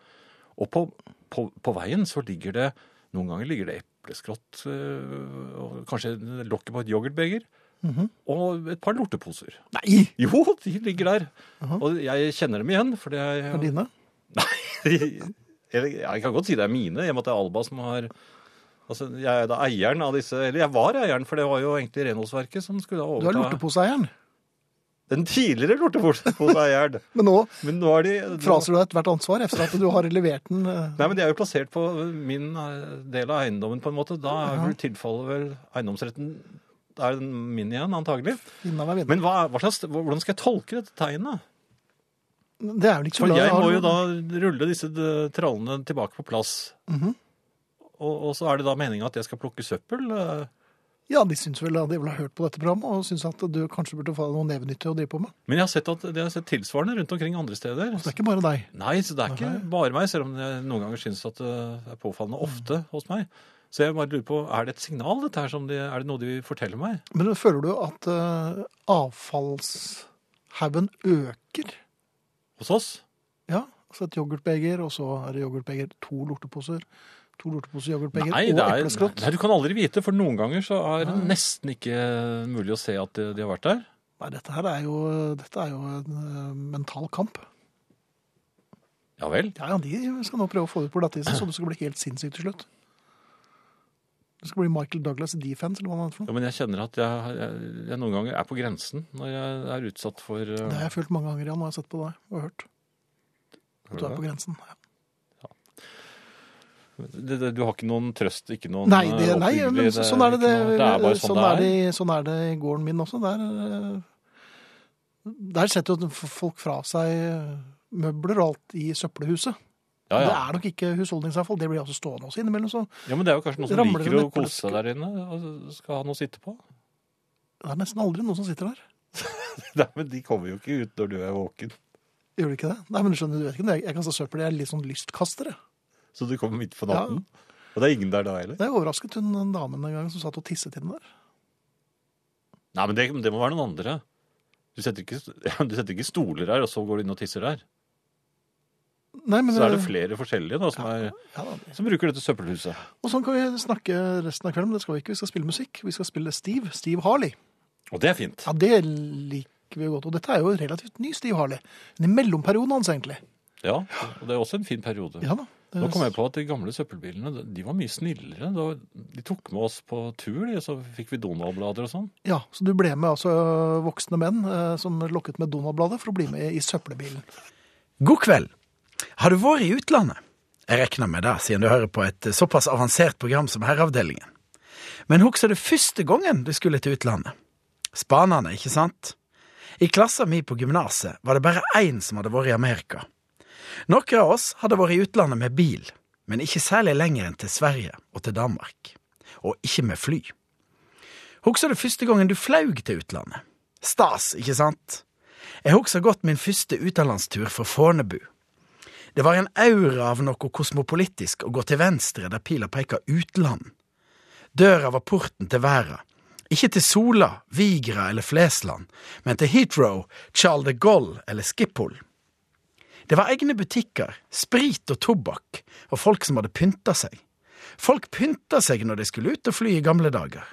B: Og på, på, på veien så ligger det Noen ganger ligger det epleskrott, øh, og kanskje lokket på et yoghurtbeger.
A: Mhm.
B: Og et par lorteposer.
A: Nei!
B: Jo, de ligger der. Og jeg kjenner dem igjen, fordi jeg
A: Er det dine?
B: eller, jeg kan godt si det er mine, i og med at det er Alba som har Altså, jeg er da eieren av disse Eller jeg var eieren, for det var jo egentlig renholdsverket som skulle da
A: Du er
B: overta
A: lorteposeeieren.
B: Den tidligere lorteposeeieren.
A: Men nå
B: Men nå er de
A: fraser du deg ethvert ansvar etter at du har levert den. eh,
B: Nei, men de er jo plassert på min eh, del av eiendommen, på en måte. Da er vel tilfaller vel eiendomsretten Da er den min igjen, antagelig.
A: Innan hver vinner.
B: Men hva, hva slags, hvordan skal jeg tolke dette tegnet?
A: Det er vel ikke så
B: For jeg
A: har
B: må
A: du-
B: jo da rulle disse d- trallene tilbake på plass.
A: Mhm.
B: og, og så er det da meninga at jeg skal plukke søppel? eh.
A: Ja, de syns vel at de vil ha hørt på dette programmet og syns at du kanskje burde få noe nevenyttig å drive på med.
B: Men jeg har sett at det har sett tilsvarende rundt omkring andre steder.
A: Så det er ikke bare deg.
B: Nei, så det er ikke bare meg, selv om jeg noen ganger syns at det er påfallende ofte
A: Mm.
B: hos meg. Så jeg bare lurer på, er det et signal, dette her? Som de, er det noe de forteller meg?
A: Men føler du at eh, avfallshaugen øker?
B: Hos oss?
A: Ja, altså et yoghurtbeger, og så er det yoghurtbeger, to lorteposer, to lorteposer, yoghurtbeger
B: Nei, det
A: og
B: er,
A: epleskrott.
B: nei, du kan aldri vite, for noen ganger så er det nesten ikke mulig å se at de, de har vært der.
A: Nei, dette her er jo, dette er jo en eh, mental kamp.
B: Ja vel?
A: Ja, ja, de skal nå prøve å få det på glattisen, så det skal bli helt sinnssykt til slutt. Det skal bli Michael Douglas defense, eller hva han heter for noe.
B: Ja, men jeg kjenner at jeg, jeg, jeg noen ganger er på grensen når jeg er utsatt for eh,
A: Det har jeg følt mange ganger, Jan, når jeg har sett på deg og hørt. At du er på grensen.
B: det, det, Du har ikke noen trøst, ikke noen
A: Nei, det,
B: eh,
A: nei
B: oppbyggelig-
A: men så- sånn er det.
B: ikke noe- det er bare sånn,
A: er
B: det er.
A: det, i- sånn er det i gården min også. Der, eh, der setter jo folk fra seg eh, møbler og alt i søppelhuset.
B: Ja,
A: Det
B: ja.
A: er nok ikke husholdningsavfall. Det blir altså stående også innimellom. Så
B: ja, men det er jo kanskje noen som
A: Ramler det
B: liker å
A: ned på
B: kose seg der inne og skal ha noe å sitte på.
A: det er nesten aldri noen som sitter der.
B: Nei, men de kommer jo ikke ut når du er våken.
A: Gjør det ikke det? Nei, men du skjønner, du vet ikke. Jeg, jeg kaster søppel. Jeg er litt sånn lystkastere.
B: Så du kommer midt på
A: Ja.
B: natten. Og det er ingen der da heller.
A: Jeg overrasket hun en damen en gang som satt og tisset i den der.
B: Nei, men det, det må være noen andre. Du setter, ikke, du setter ikke stoler her, og så går du inn og tisser her.
A: Nei, men, eh,
B: Så er det flere forskjellige da, som, er,
A: Ja, da.
B: som bruker dette søppelhuset.
A: og sånn kan vi snakke resten av kvelden, men det skal vi ikke. Vi skal spille musikk. Vi skal spille Steve. Steve Harley.
B: Og det er fint.
A: Ja, det liker vi jo godt. Og dette er jo relativt ny Steve Harley. Men i mellomperioden hans, egentlig.
B: Ja, og det er også en fin periode.
A: Ja da. Det-
B: Nå kom jeg på at de gamle søppelbilene de var mye snillere. Da de tok med oss på tur, de, så fikk vi Donald-blader og sånn.
A: Ja, Så du ble med altså voksne menn eh, som lokket med Donald-bladet for å bli med i søppelbilen.
D: God kveld. Har du vært i utlandet? Jeg regner med det, siden du hører på et eh, såpass avansert program som Herreavdelingen. Men husker du første gangen du skulle til utlandet? Spanerne, ikke sant? I klassa mi på gymnaset var det bare én som hadde vært i Amerika. Noen av oss hadde vært i utlandet med bil, men ikke særlig lenger enn til Sverige og til Danmark. Og ikke med fly. Husker du første gangen du flaug til utlandet? Stas, ikke sant? Jeg husker godt min første utenlandstur fra Fornebu. Det var en aura av noe kosmopolitisk å gå til venstre der pila peker utland. Døra var porten til verden. Ikke til Sola, Vigra eller Flesland, men til Heathrow, Charles de Gaulle eller Schiphol. Det var egne butikker, sprit og tobakk, og folk som hadde pynta seg. Folk pynta seg når de skulle ut og fly i gamle dager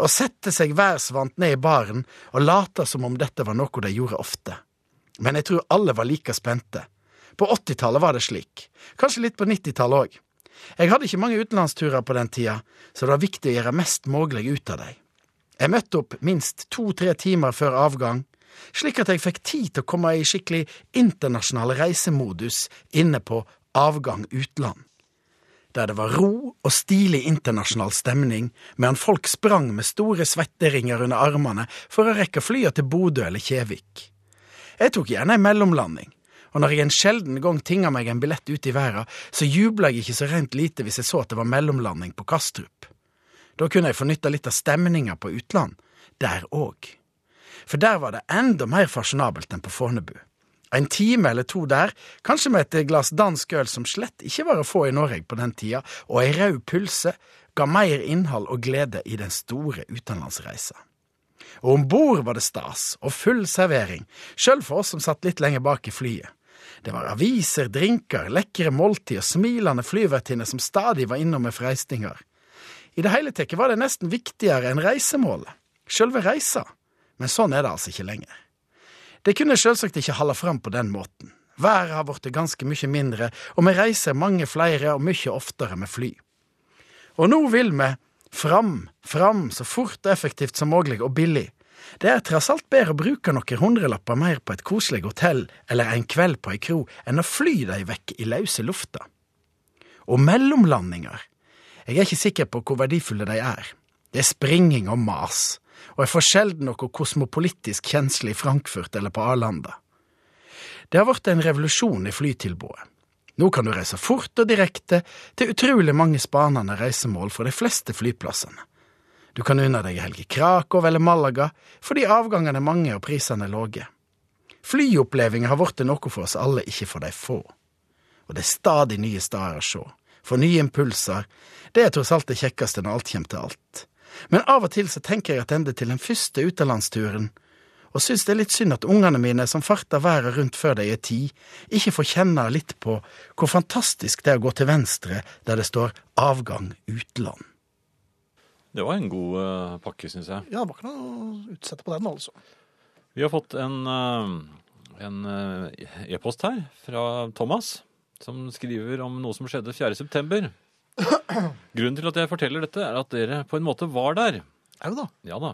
D: og sette seg værsvant ned i baren og late som om dette var noe de gjorde ofte. Men jeg tror alle var like spente. På 80-tallet var det slik. Kanskje litt på 90-tallet òg. Jeg hadde ikke mange utenlandsturer på den tida, så det var viktig å gjøre mest mulig ut av dem. Jeg møtte opp minst to–tre timer før avgang, slik at jeg fikk tid til å komme i skikkelig internasjonal reisemodus inne på Avgang utland der det var ro og stilig internasjonal stemning, medan folk sprang med store svetteringer under armene for å rekke flyet til Bodø eller Kjevik. Jeg tok gjerne en mellomlanding, og når jeg en sjelden gang tinga meg en billett ut i verden, så jubla jeg ikke så rent lite hvis jeg så at det var mellomlanding på Kastrup. Da kunne jeg få nytta litt av stemninga på utland, der òg. For der var det enda mer fasjonabelt enn på Fornebu. En time eller to der, kanskje med et glass dansk øl som slett ikke var å få i Norge på den tida, og ei rød pølse, ga mer innhold og glede i den store utenlandsreisa. Og om bord var det stas, og full servering, sjøl for oss som satt litt lenger bak i flyet. Det var aviser, drinker, lekre måltid og smilende flyvertinner som stadig var innom med freistingar. I det hele tatt var det nesten viktigere enn reisemålet, sjølve reisa, men sånn er det altså ikke lenger. Det kunne sjølsagt ikke holde fram på den måten. Været har blitt ganske mye mindre, og vi reiser mange flere og mye oftere med fly. Og nå vil vi fram, fram, så fort og effektivt som mulig og billig. Det er tross alt bedre å bruke noen hundrelapper mer på et koselig hotell eller en kveld på ei kro enn å fly dem vekk i løse lufta. Og mellomlandinger. Jeg er ikke sikker på hvor verdifulle de er. Det er springing og mas, og jeg får sjelden noe kosmopolitisk kjensle i Frankfurt eller på Arlanda. Det har blitt en revolusjon i flytilbudet. Nå kan du reise fort og direkte til utrolig mange spanende reisemål fra de fleste flyplassene. Du kan unne deg helg i Krakow eller Malaga, fordi avgangene er mange og prisene er lave. Flyopplevelser har blitt noe for oss alle, ikke for de få. Og det er stadig nye steder å se, for nye impulser, det er tross alt det kjekkeste når alt kommer til alt. Men av og til så tenker jeg tilbake til den første utenlandsturen, og syns det er litt synd at ungene mine, som farter været rundt før de er ti, ikke får kjenne litt på hvor fantastisk det er å gå til venstre der det står avgang utland.
B: Det var en god eh, pakke, syns jeg.
A: Ja, det var ikke noe å utsette på den, altså.
B: Vi har fått en, eh, en eh, e-post her fra Thomas, som skriver om noe som skjedde 4. september. Grunnen til at jeg forteller dette, er at dere på en måte var der.
A: Au da.
B: Ja da.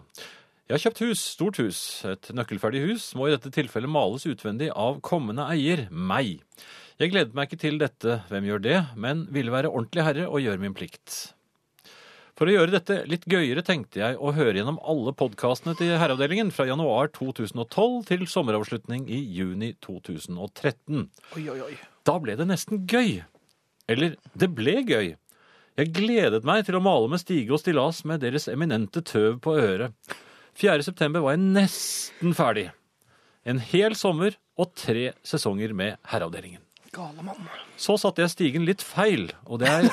B: Jeg har kjøpt hus, stort hus. Et nøkkelferdig hus må i dette tilfellet males utvendig av kommende eier, meg. Jeg gleder meg ikke til dette, hvem gjør det, men ville være ordentlig herre og gjøre min plikt. For å gjøre dette litt gøyere tenkte jeg å høre gjennom alle podkastene til Herreavdelingen fra januar 2012 til sommeravslutning i juni 2013.
A: Oi, oi, oi.
B: Da ble det nesten gøy. Eller, det ble gøy. Jeg gledet meg til å male med stige og stillas med deres eminente tøv på øret. 4. september var jeg nesten ferdig. En hel sommer og tre sesonger med Herreavdelingen.
A: Gale mann.
B: Så satte jeg stigen litt feil, og det er,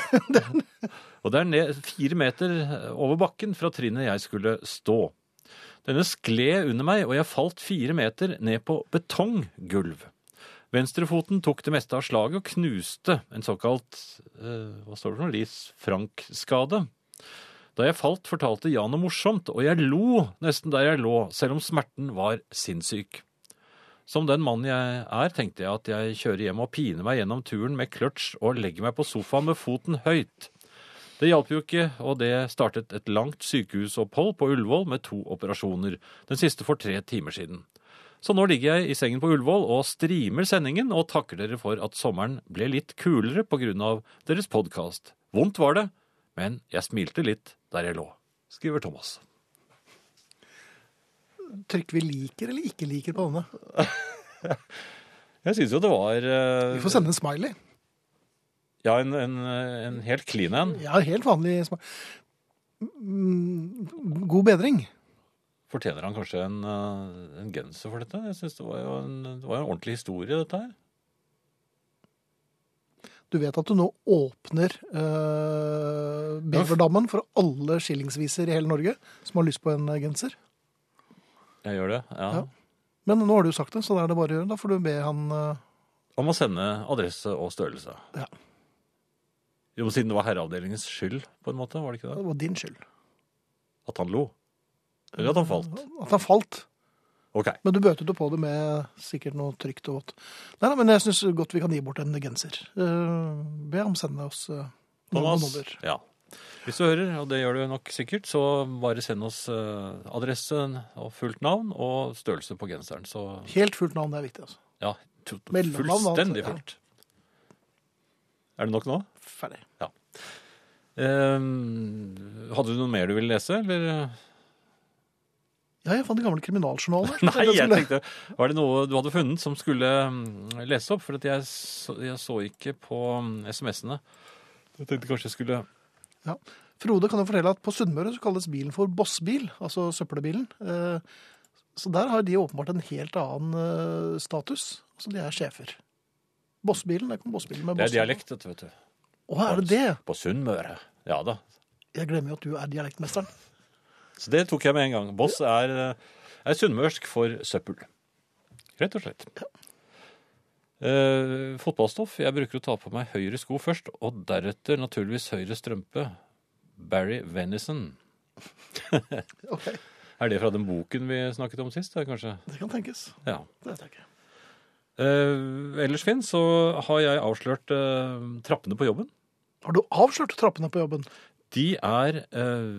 B: og det er ned fire meter over bakken fra trinnet jeg skulle stå. Denne skled under meg, og jeg falt fire meter ned på betonggulv. Venstrefoten tok det meste av slaget og knuste en såkalt eh, hva står det for noe, Lis Frank-skade. Da jeg falt, fortalte Jan noe morsomt, og jeg lo nesten der jeg lå, selv om smerten var sinnssyk. Som den mannen jeg er, tenkte jeg at jeg kjører hjem og piner meg gjennom turen med kløtsj og legger meg på sofaen med foten høyt. Det hjalp jo ikke, og det startet et langt sykehusopphold på Ullevål med to operasjoner, den siste for tre timer siden. Så nå ligger jeg i sengen på Ullevål og streamer sendingen og takker dere for at sommeren ble litt kulere på grunn av deres podkast. Vondt var det, men jeg smilte litt der jeg lå, skriver Thomas.
A: Trykk vi liker eller ikke liker på denne.
B: Jeg syns jo det var eh,
A: Vi får sende en smiley.
B: Ja, en, en, en helt clean en.
A: Ja, helt vanlig smiley. Mm, God bedring.
B: Fortjener han kanskje en, eh, en genser for dette? Jeg synes det var jo en, det var jo en ordentlig historie, dette her.
A: Du vet at du nå åpner uh, Beverdammen for alle skillingsviser i hele Norge som har lyst på en genser.
B: Jeg gjør det, ja.
A: Ja. Men nå har du sagt det, så da er det bare å gjøre. Da får du be han eh,
B: Om å sende adresse og størrelse.
A: Ja.
B: Jo, men siden det var herreavdelingens skyld, på en måte, var det ikke det?
A: Det var din skyld.
B: At han lo. Eller at han falt.
A: At han falt.
B: Ok.
A: Men du bøtet jo på det med sikkert noe trygt og vått. Nei, nei, men jeg syns godt vi kan gi bort en genser. Eh, be ham sende oss eh, noen
B: Thomas,
A: nummer.
B: ja. Hvis du hører, og det gjør du nok sikkert, så bare send oss eh, adresse og fullt navn og størrelse på genseren. Så
A: Helt fullt navn, det er viktig. altså.
B: ja, tu-
A: Mellomnavn, altså,
B: fullstendig
A: ja.
B: fullt. Er det nok nå?
A: Ferdig.
B: Eh, hadde du noe mer du ville lese, eller?
A: Ja, jeg fant den gamle kriminaljournalen. her.
B: Nei,
A: Den
B: jeg
A: skulle-
B: tenkte, var det noe du hadde funnet som skulle mm, lese opp? For at jeg, så, jeg så ikke på mm, SMS-ene. Jeg tenkte kanskje jeg skulle
A: Frode kan jo fortelle at på Sunnmøre så kalles bilen for bossbil, altså søppelbilen. Eh, Så der har de åpenbart en helt annen eh, status. Altså de er sjefer. Bossbilen, der kom bossbilen med
B: Det er
A: bossen.
B: dialekt, dette, vet du.
A: Å, er det det?
B: På Sunnmøre. Ja da.
A: Jeg glemmer jo at du er dialektmesteren.
B: Så det tok jeg med en gang. Boss er, eh, er sunnmørsk for søppel. Rett og slett. Eh, fotballstoff. Jeg bruker å ta på meg høyre sko først, og deretter naturligvis høyre strømpe. Barry Venison.
A: Ok,
B: Er det fra den boken vi snakket om sist, da, kanskje?
A: det kan tenkes.
B: Ja.
A: Det vet jeg ikke.
B: Eh, ellers, Finn, så har jeg avslørt eh, trappene på jobben.
A: Har du avslørt trappene på jobben?
B: De er eh,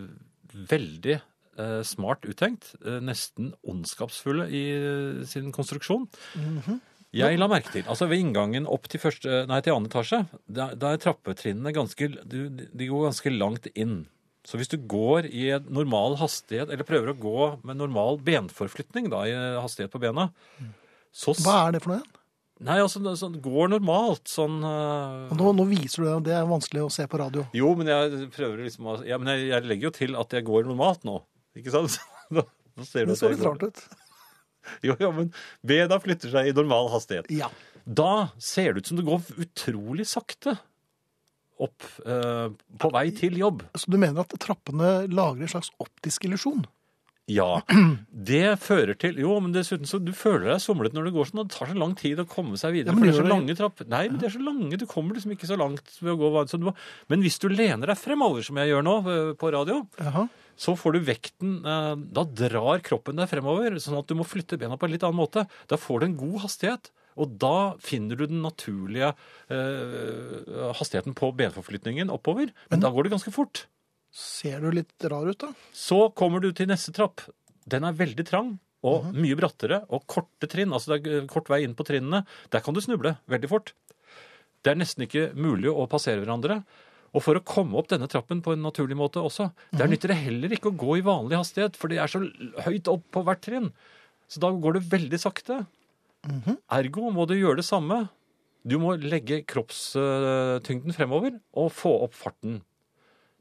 B: veldig eh, smart uttenkt, eh, nesten ondskapsfulle i eh, sin konstruksjon.
A: Mhm.
B: Jeg la merke til, altså ved inngangen opp til, første, nei, til andre etasje, der, der er trappetrinnene ganske, du- de går ganske langt inn. Så hvis du går i en normal hastighet, eller prøver å gå med normal benforflytning da, i eh, hastighet på bena, så... s-
A: Mm. Hva er det for noe igjen?
B: Nei, altså, sånn, går normalt, sånn... eh,
A: Nå, nå viser du det, og det er vanskelig å se på radio.
B: jo, men jeg prøver liksom å Ja, men jeg, jeg legger jo til at jeg går normalt nå. Ikke sant? Da, da ser du
A: Det
B: at
A: så
B: jeg
A: litt
B: går-
A: rart ut.
B: Jo, ja, men bena flytter seg i normal hastighet.
A: Ja.
B: Da ser det ut som det går utrolig sakte opp eh, på vei til jobb.
A: Så du mener at trappene lager en slags optisk illusjon?
B: Ja. Det fører til Jo, men dessuten så du føler deg somlet når det går sånn. og Det tar så lang tid å komme seg videre.
A: Ja, men
B: for det er
A: gjør
B: så
A: det-
B: lange trapper. Nei, men det er så lange. Du kommer liksom ikke så langt ved å gå. hva- Så du må, men hvis du lener deg fremover, som jeg gjør nå eh, på radio,
A: Jaha.
B: så får du vekten eh, Da drar kroppen deg fremover, sånn at du må flytte bena på en litt annen måte. Da får du en god hastighet, og da finner du den naturlige eh, hastigheten på benforflytningen oppover. Men da går det ganske fort.
A: Ser du litt rar ut, da?
B: Så kommer du til neste trapp. Den er veldig trang. Og mye brattere og korte trinn. altså det er eh, kort vei inn på trinnene. Der kan du snuble veldig fort. Det er nesten ikke mulig å passere hverandre. Og for å komme opp denne trappen på en naturlig måte også, der nytter det heller ikke å gå i vanlig hastighet, for det er så l- høyt opp på hvert trinn. Så da går det veldig sakte. Ergo må du gjøre det samme. Du må legge kroppstyngden fremover og få opp farten.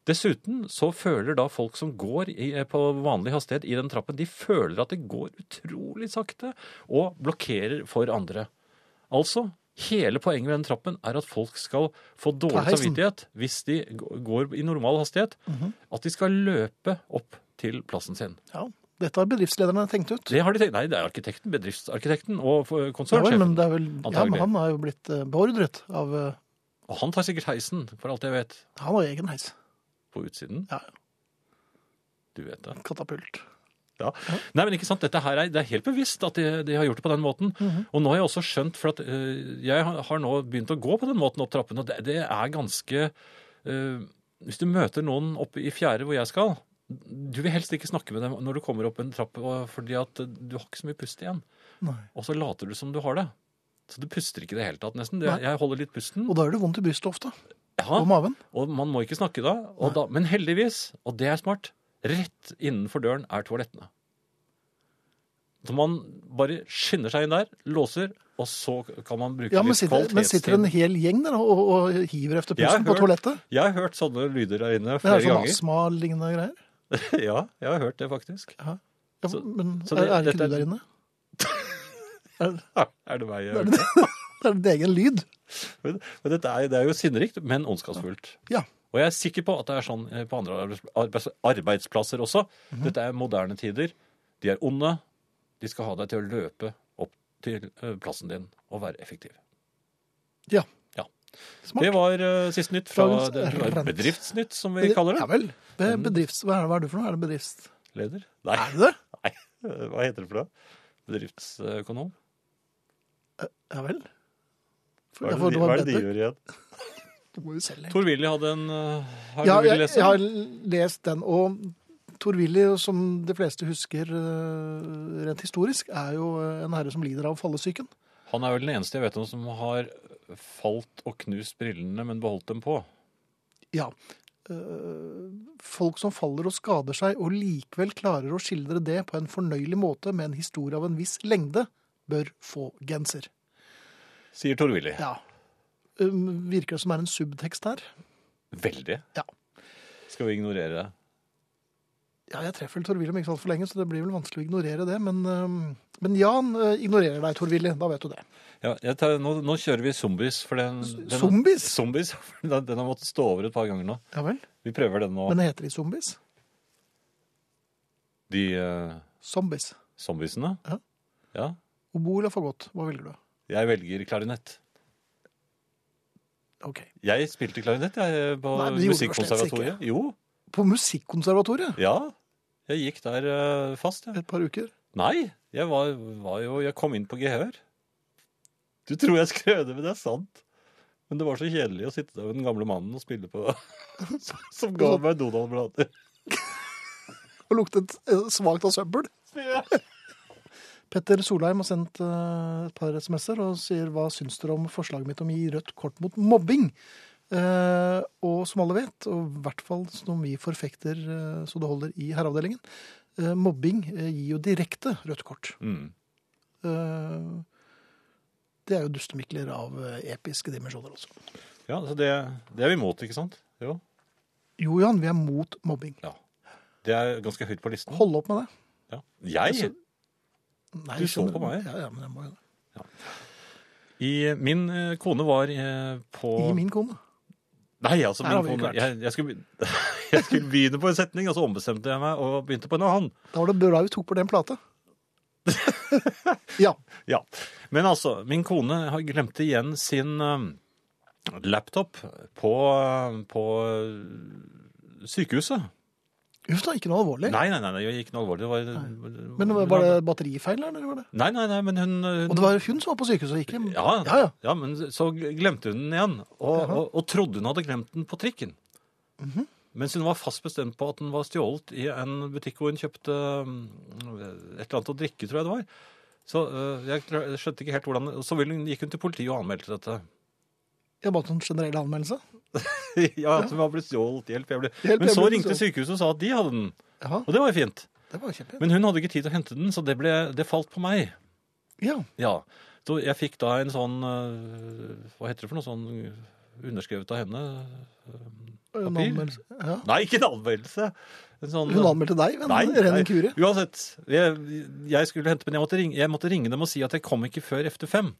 B: Dessuten så føler da folk som går i, på vanlig hastighet i den trappen, de føler at det går utrolig sakte og blokkerer for andre. Altså, hele poenget med den trappen er at folk skal få dårlig
A: heisen.
B: samvittighet hvis de g- går i normal hastighet. At de skal løpe opp til plassen sin.
A: Ja. Dette har bedriftslederne tenkt ut.
B: Det har de tenkt. Nei, det er arkitekten, bedriftsarkitekten og f-
A: Ja, vel,
B: konsernsjefen.
A: men det er vel, ja, men
B: Antagelig.
A: han har jo blitt eh, beordret av eh,
B: Og han tar sikkert heisen, for alt jeg vet,
A: Han har egen heis.
B: på utsiden.
A: Ja.
B: Du vet det.
A: Katapult.
B: Ja. Nei, men ikke sant, dette her er, Det er helt bevisst at de, de har gjort det på den måten. Og nå har jeg også skjønt, for at eh, jeg har har nå begynt å gå på den måten opp trappen, og det, det er ganske eh, Hvis du møter noen oppe i fjerde hvor jeg skal, du vil helst ikke snakke med dem når du kommer opp en trapp, og- fordi at eh, du har ikke så mye pust igjen.
A: Nei.
B: Og så later du som du har det. Så du puster ikke i det hele tatt, nesten. Det,
A: Nei.
B: jeg holder litt pusten.
A: Og da gjør det vondt i brystet ofte.
B: Ja.
A: Og maven.
B: Og man må ikke snakke da, og da. Men heldigvis, og det er smart, rett innenfor døren er toalettene. Så man bare skynder seg inn der, låser, og så kan man bruke
A: Ja, men
B: litt
A: sitter, men sitter en
B: kvalitetstid.
A: hel gjeng der og, og hiver efter
B: Jeg har
A: pusten på
B: hørt
A: toalettet?
B: Jeg har hørt sånne lyder der inne
A: Det
B: flere
A: er sånn
B: ganger.
A: astma-lignende greier.
B: Ja, jeg har hørt det faktisk.
A: Ja,
B: Så-
A: men
B: så det-
A: er, er ikke
B: dette er-
A: du der inne?
B: Er det meg? jeg hører?
A: Det er din egen lyd.
B: Men men dette er, det er jo sinnerikt, men ondskapsfullt.
A: Ja.
B: Og jeg er sikker på at det er sånn eh, på andre arbeids- arbeids- arbeidsplasser også.
A: Mhm.
B: Dette er moderne tider. De er onde. De skal ha deg til å løpe opp til eh, plassen din og være effektiv.
A: Ja.
B: Ja.
A: Smart.
B: Det var eh, siste nytt fra
A: Dagens
B: det, det var
A: rant.
B: Bedriftsnytt, som vi kaller
A: Ja
B: det. Mm.
A: vel. Det er bedrifts... Hva er, hva er du for noe? Er det bedrifts...
B: Leder? Nei,
A: Er det det?
B: hva heter det for noe? Bedriftsøkonom?
A: Ja vel. For,
B: Hva er
A: ja, for
B: det, de-
A: var
B: hva er det de
A: bedre.
B: gjør igjen?
A: Du må jo selge.
B: Tor Willy hadde en eh, Har
A: Ja,
B: du villet
A: jeg,
B: lese
A: jeg har
B: den?
A: lest den, og Tor-Willy, som de fleste husker eh, rent historisk, er jo eh, en herre som lider av fallesyken.
B: Han er vel den eneste jeg vet om som har falt og knust brillene, men beholdt dem på.
A: Ja. Eh, Folk som faller og skader seg, og likevel klarer å skildre det på en fornøyelig måte med en historie av en viss lengde, bør få genser.
B: Sier Tor-Willy.
A: Ja. Um, Virker det som er en subtekst her?
B: Veldig.
A: Ja.
B: Skal vi ignorere det?
A: Ja, jeg treffer Tor-Willy om ikke så altfor lenge, så det blir vel vanskelig å ignorere det. Men, um, men Jan eh, ignorerer deg, Tor-Willy. Da vet du det.
B: Ja, jeg tar, nå, nå kjører vi zombies. For den, den,
A: Zombies?
B: Zombies, for den, den har måttet stå over et par ganger nå.
A: Ja vel.
B: Vi prøver den nå.
A: Men heter de zombies?
B: De eh,
A: Zombies.
B: zombiesene?
A: Ja.
B: Ja.
A: Obo eller fagott? Hva velger du?
B: Jeg velger klarinett.
A: Ok.
B: Jeg spilte klarinett jeg, på
A: Nei, det gjorde du slett
B: Musikkonservatoriet. Jo,
A: På Musikkonservatoriet
B: ja. Jeg gikk der eh, fast, jeg.
A: et par uker.
B: Nei, jeg var, var jo Jeg kom inn på gehør. Du tror jeg skrev det, men det er sant. Men det var så kjedelig å sitte der med den gamle mannen og spille på Som ga meg Donald-blader.
A: Og luktet eh, svakt av søppel. Petter Solheim har sendt eh, et par SMS-er og sier hva syns dere om forslaget mitt om å gi rødt kort mot mobbing? Eh, og som alle vet, og i hvert fall som vi forfekter eh, så det holder i herreavdelingen, eh, mobbing eh, gir jo direkte rødt kort.
B: Mm.
A: Eh, det er jo dustemikler av eh, episke dimensjoner også.
B: Ja, så det, det er vi imot, ikke sant? Jo.
A: Jo, Jan, vi er mot mobbing.
B: Ja. Det er ganske høyt på listen.
A: Hold Altså- opp med det.
B: Ja. Jeg,
A: Nei,
B: Du så
A: skjønner-
B: på meg.
A: Ja, ja, men jeg må jo det.
B: i, min eh, kone var eh, på
A: I min kone.
B: Nei, altså
A: Her har
B: min
A: vi ikke
B: kone
A: vært.
B: jeg, jeg, skulle, be- jeg skulle begynne på en setning, og så ombestemte jeg meg og begynte på en annen.
A: Da var det bra vi tok på den plata. ja.
B: Ja. Men altså, min kone har- glemte igjen sin eh, laptop på, eh, på eh, sykehuset.
A: Uff da, ikke noe alvorlig.
B: Nei, nei, nei, nei, det gikk noe alvorlig. Det var,
A: Men var det batterifeil, eller? var det?
B: Nei, nei, nei, men hun,
A: Og
B: hun
A: det var hun som var på sykehuset, ikke
B: ja,
A: ja, ja.
B: ja, men så glemte hun den igjen, og, og, og trodde hun hadde glemt den på trikken.
A: Mhm.
B: Mens hun var fast bestemt på at den var stjålet i en butikk hvor hun kjøpte mm, et eller annet å drikke, tror jeg det var. Så øh, jeg klar- jeg skjønte ikke helt hvordan... Så ville hun, gikk hun til politiet og anmeldte dette.
A: Jeg ba om en generell anmeldelse.
B: ja, at hun var blitt stjålet, hjelp. Jeg ble...
A: Hjelp,
B: Men
A: jeg
B: så
A: ble
B: ringte
A: stjålet.
B: sykehuset og sa at de hadde den,
A: Jaha,
B: og det var jo fint.
A: det var kjempefint.
B: Men hun hadde ikke tid til å hente den, så det, ble, det falt på meg.
A: Ja,
B: Ja. Så jeg fikk da en sånn øh, Hva heter det for noe sånn underskrevet av henne?
A: en
B: Papir?
A: anmeldelse. Ja.
B: Nei, ikke en anmeldelse! En sånn,
A: Hun anmeldte deg, men
B: Nei,
A: ren
B: nei.
A: inkurie.
B: Uansett. Jeg, jeg skulle hente, men jeg måtte, ringe, jeg måtte ringe dem og si at jeg kom ikke før efter fem.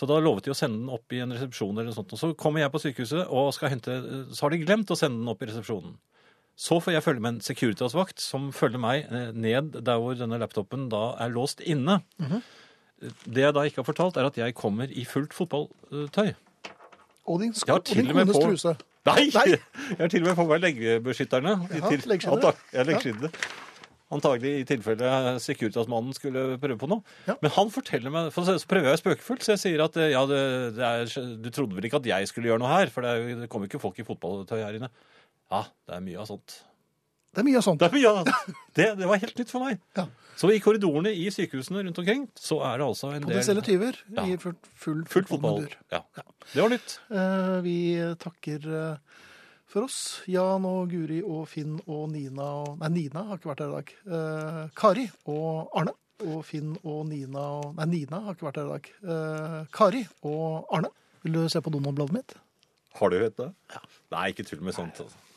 B: Så da lovet de å sende den opp i en resepsjon eller noe sånt. Og så kommer jeg på sykehuset og skal hente Så har de glemt å sende den opp i resepsjonen. Så får jeg følge med en Securitas-vakt som følger meg eh, ned der hvor denne laptopen da er låst inne. Det jeg da ikke har fortalt, er at jeg kommer i fullt fotballtøy.
A: Og din,
B: Jeg
A: sko
B: har
A: og
B: til
A: din
B: og med
A: kones
B: på-
A: truse.
B: Nei!
A: Nei.
B: Jeg har til og med på meg leggebeskytterne. i
A: Jaha,
B: til-
A: leggskinnet.
B: Antag ja, leggskinnet. Antagelig i tilfelle Securitas-mannen skulle prøve på noe.
A: Ja.
B: Men han forteller meg, for så så prøver jeg spørkefullt, så jeg sier at eh, ja, det, det er, du trodde vel ikke at jeg skulle gjøre noe her, for det, er, jo- det kommer jo ikke folk i fotballtøy her inne. Ja, det er mye av sånt.
A: Det er mye av sånt.
B: Det er mye av sånt. Det, det var helt nytt for meg.
A: Ja.
B: Så i korridorene i sykehusene rundt omkring, så er det altså en
A: Potensielle
B: del
A: tyver
B: Ja.
A: i full, full
B: fullt fotball.
A: fotballmundur.
B: Ja. Det var nytt.
A: Eh, Vi takker eh, for oss. Jan og Guri og Finn og Nina og Nei, Nina har ikke vært her i dag. Eh, Kari og Arne. Og Finn og Nina og Nei, Nina har ikke vært her i dag. Eh, Kari og Arne. Vil du se på Donald-bladet mitt?
B: Har du hørt det? Nei, ikke tull med sånt. Altså.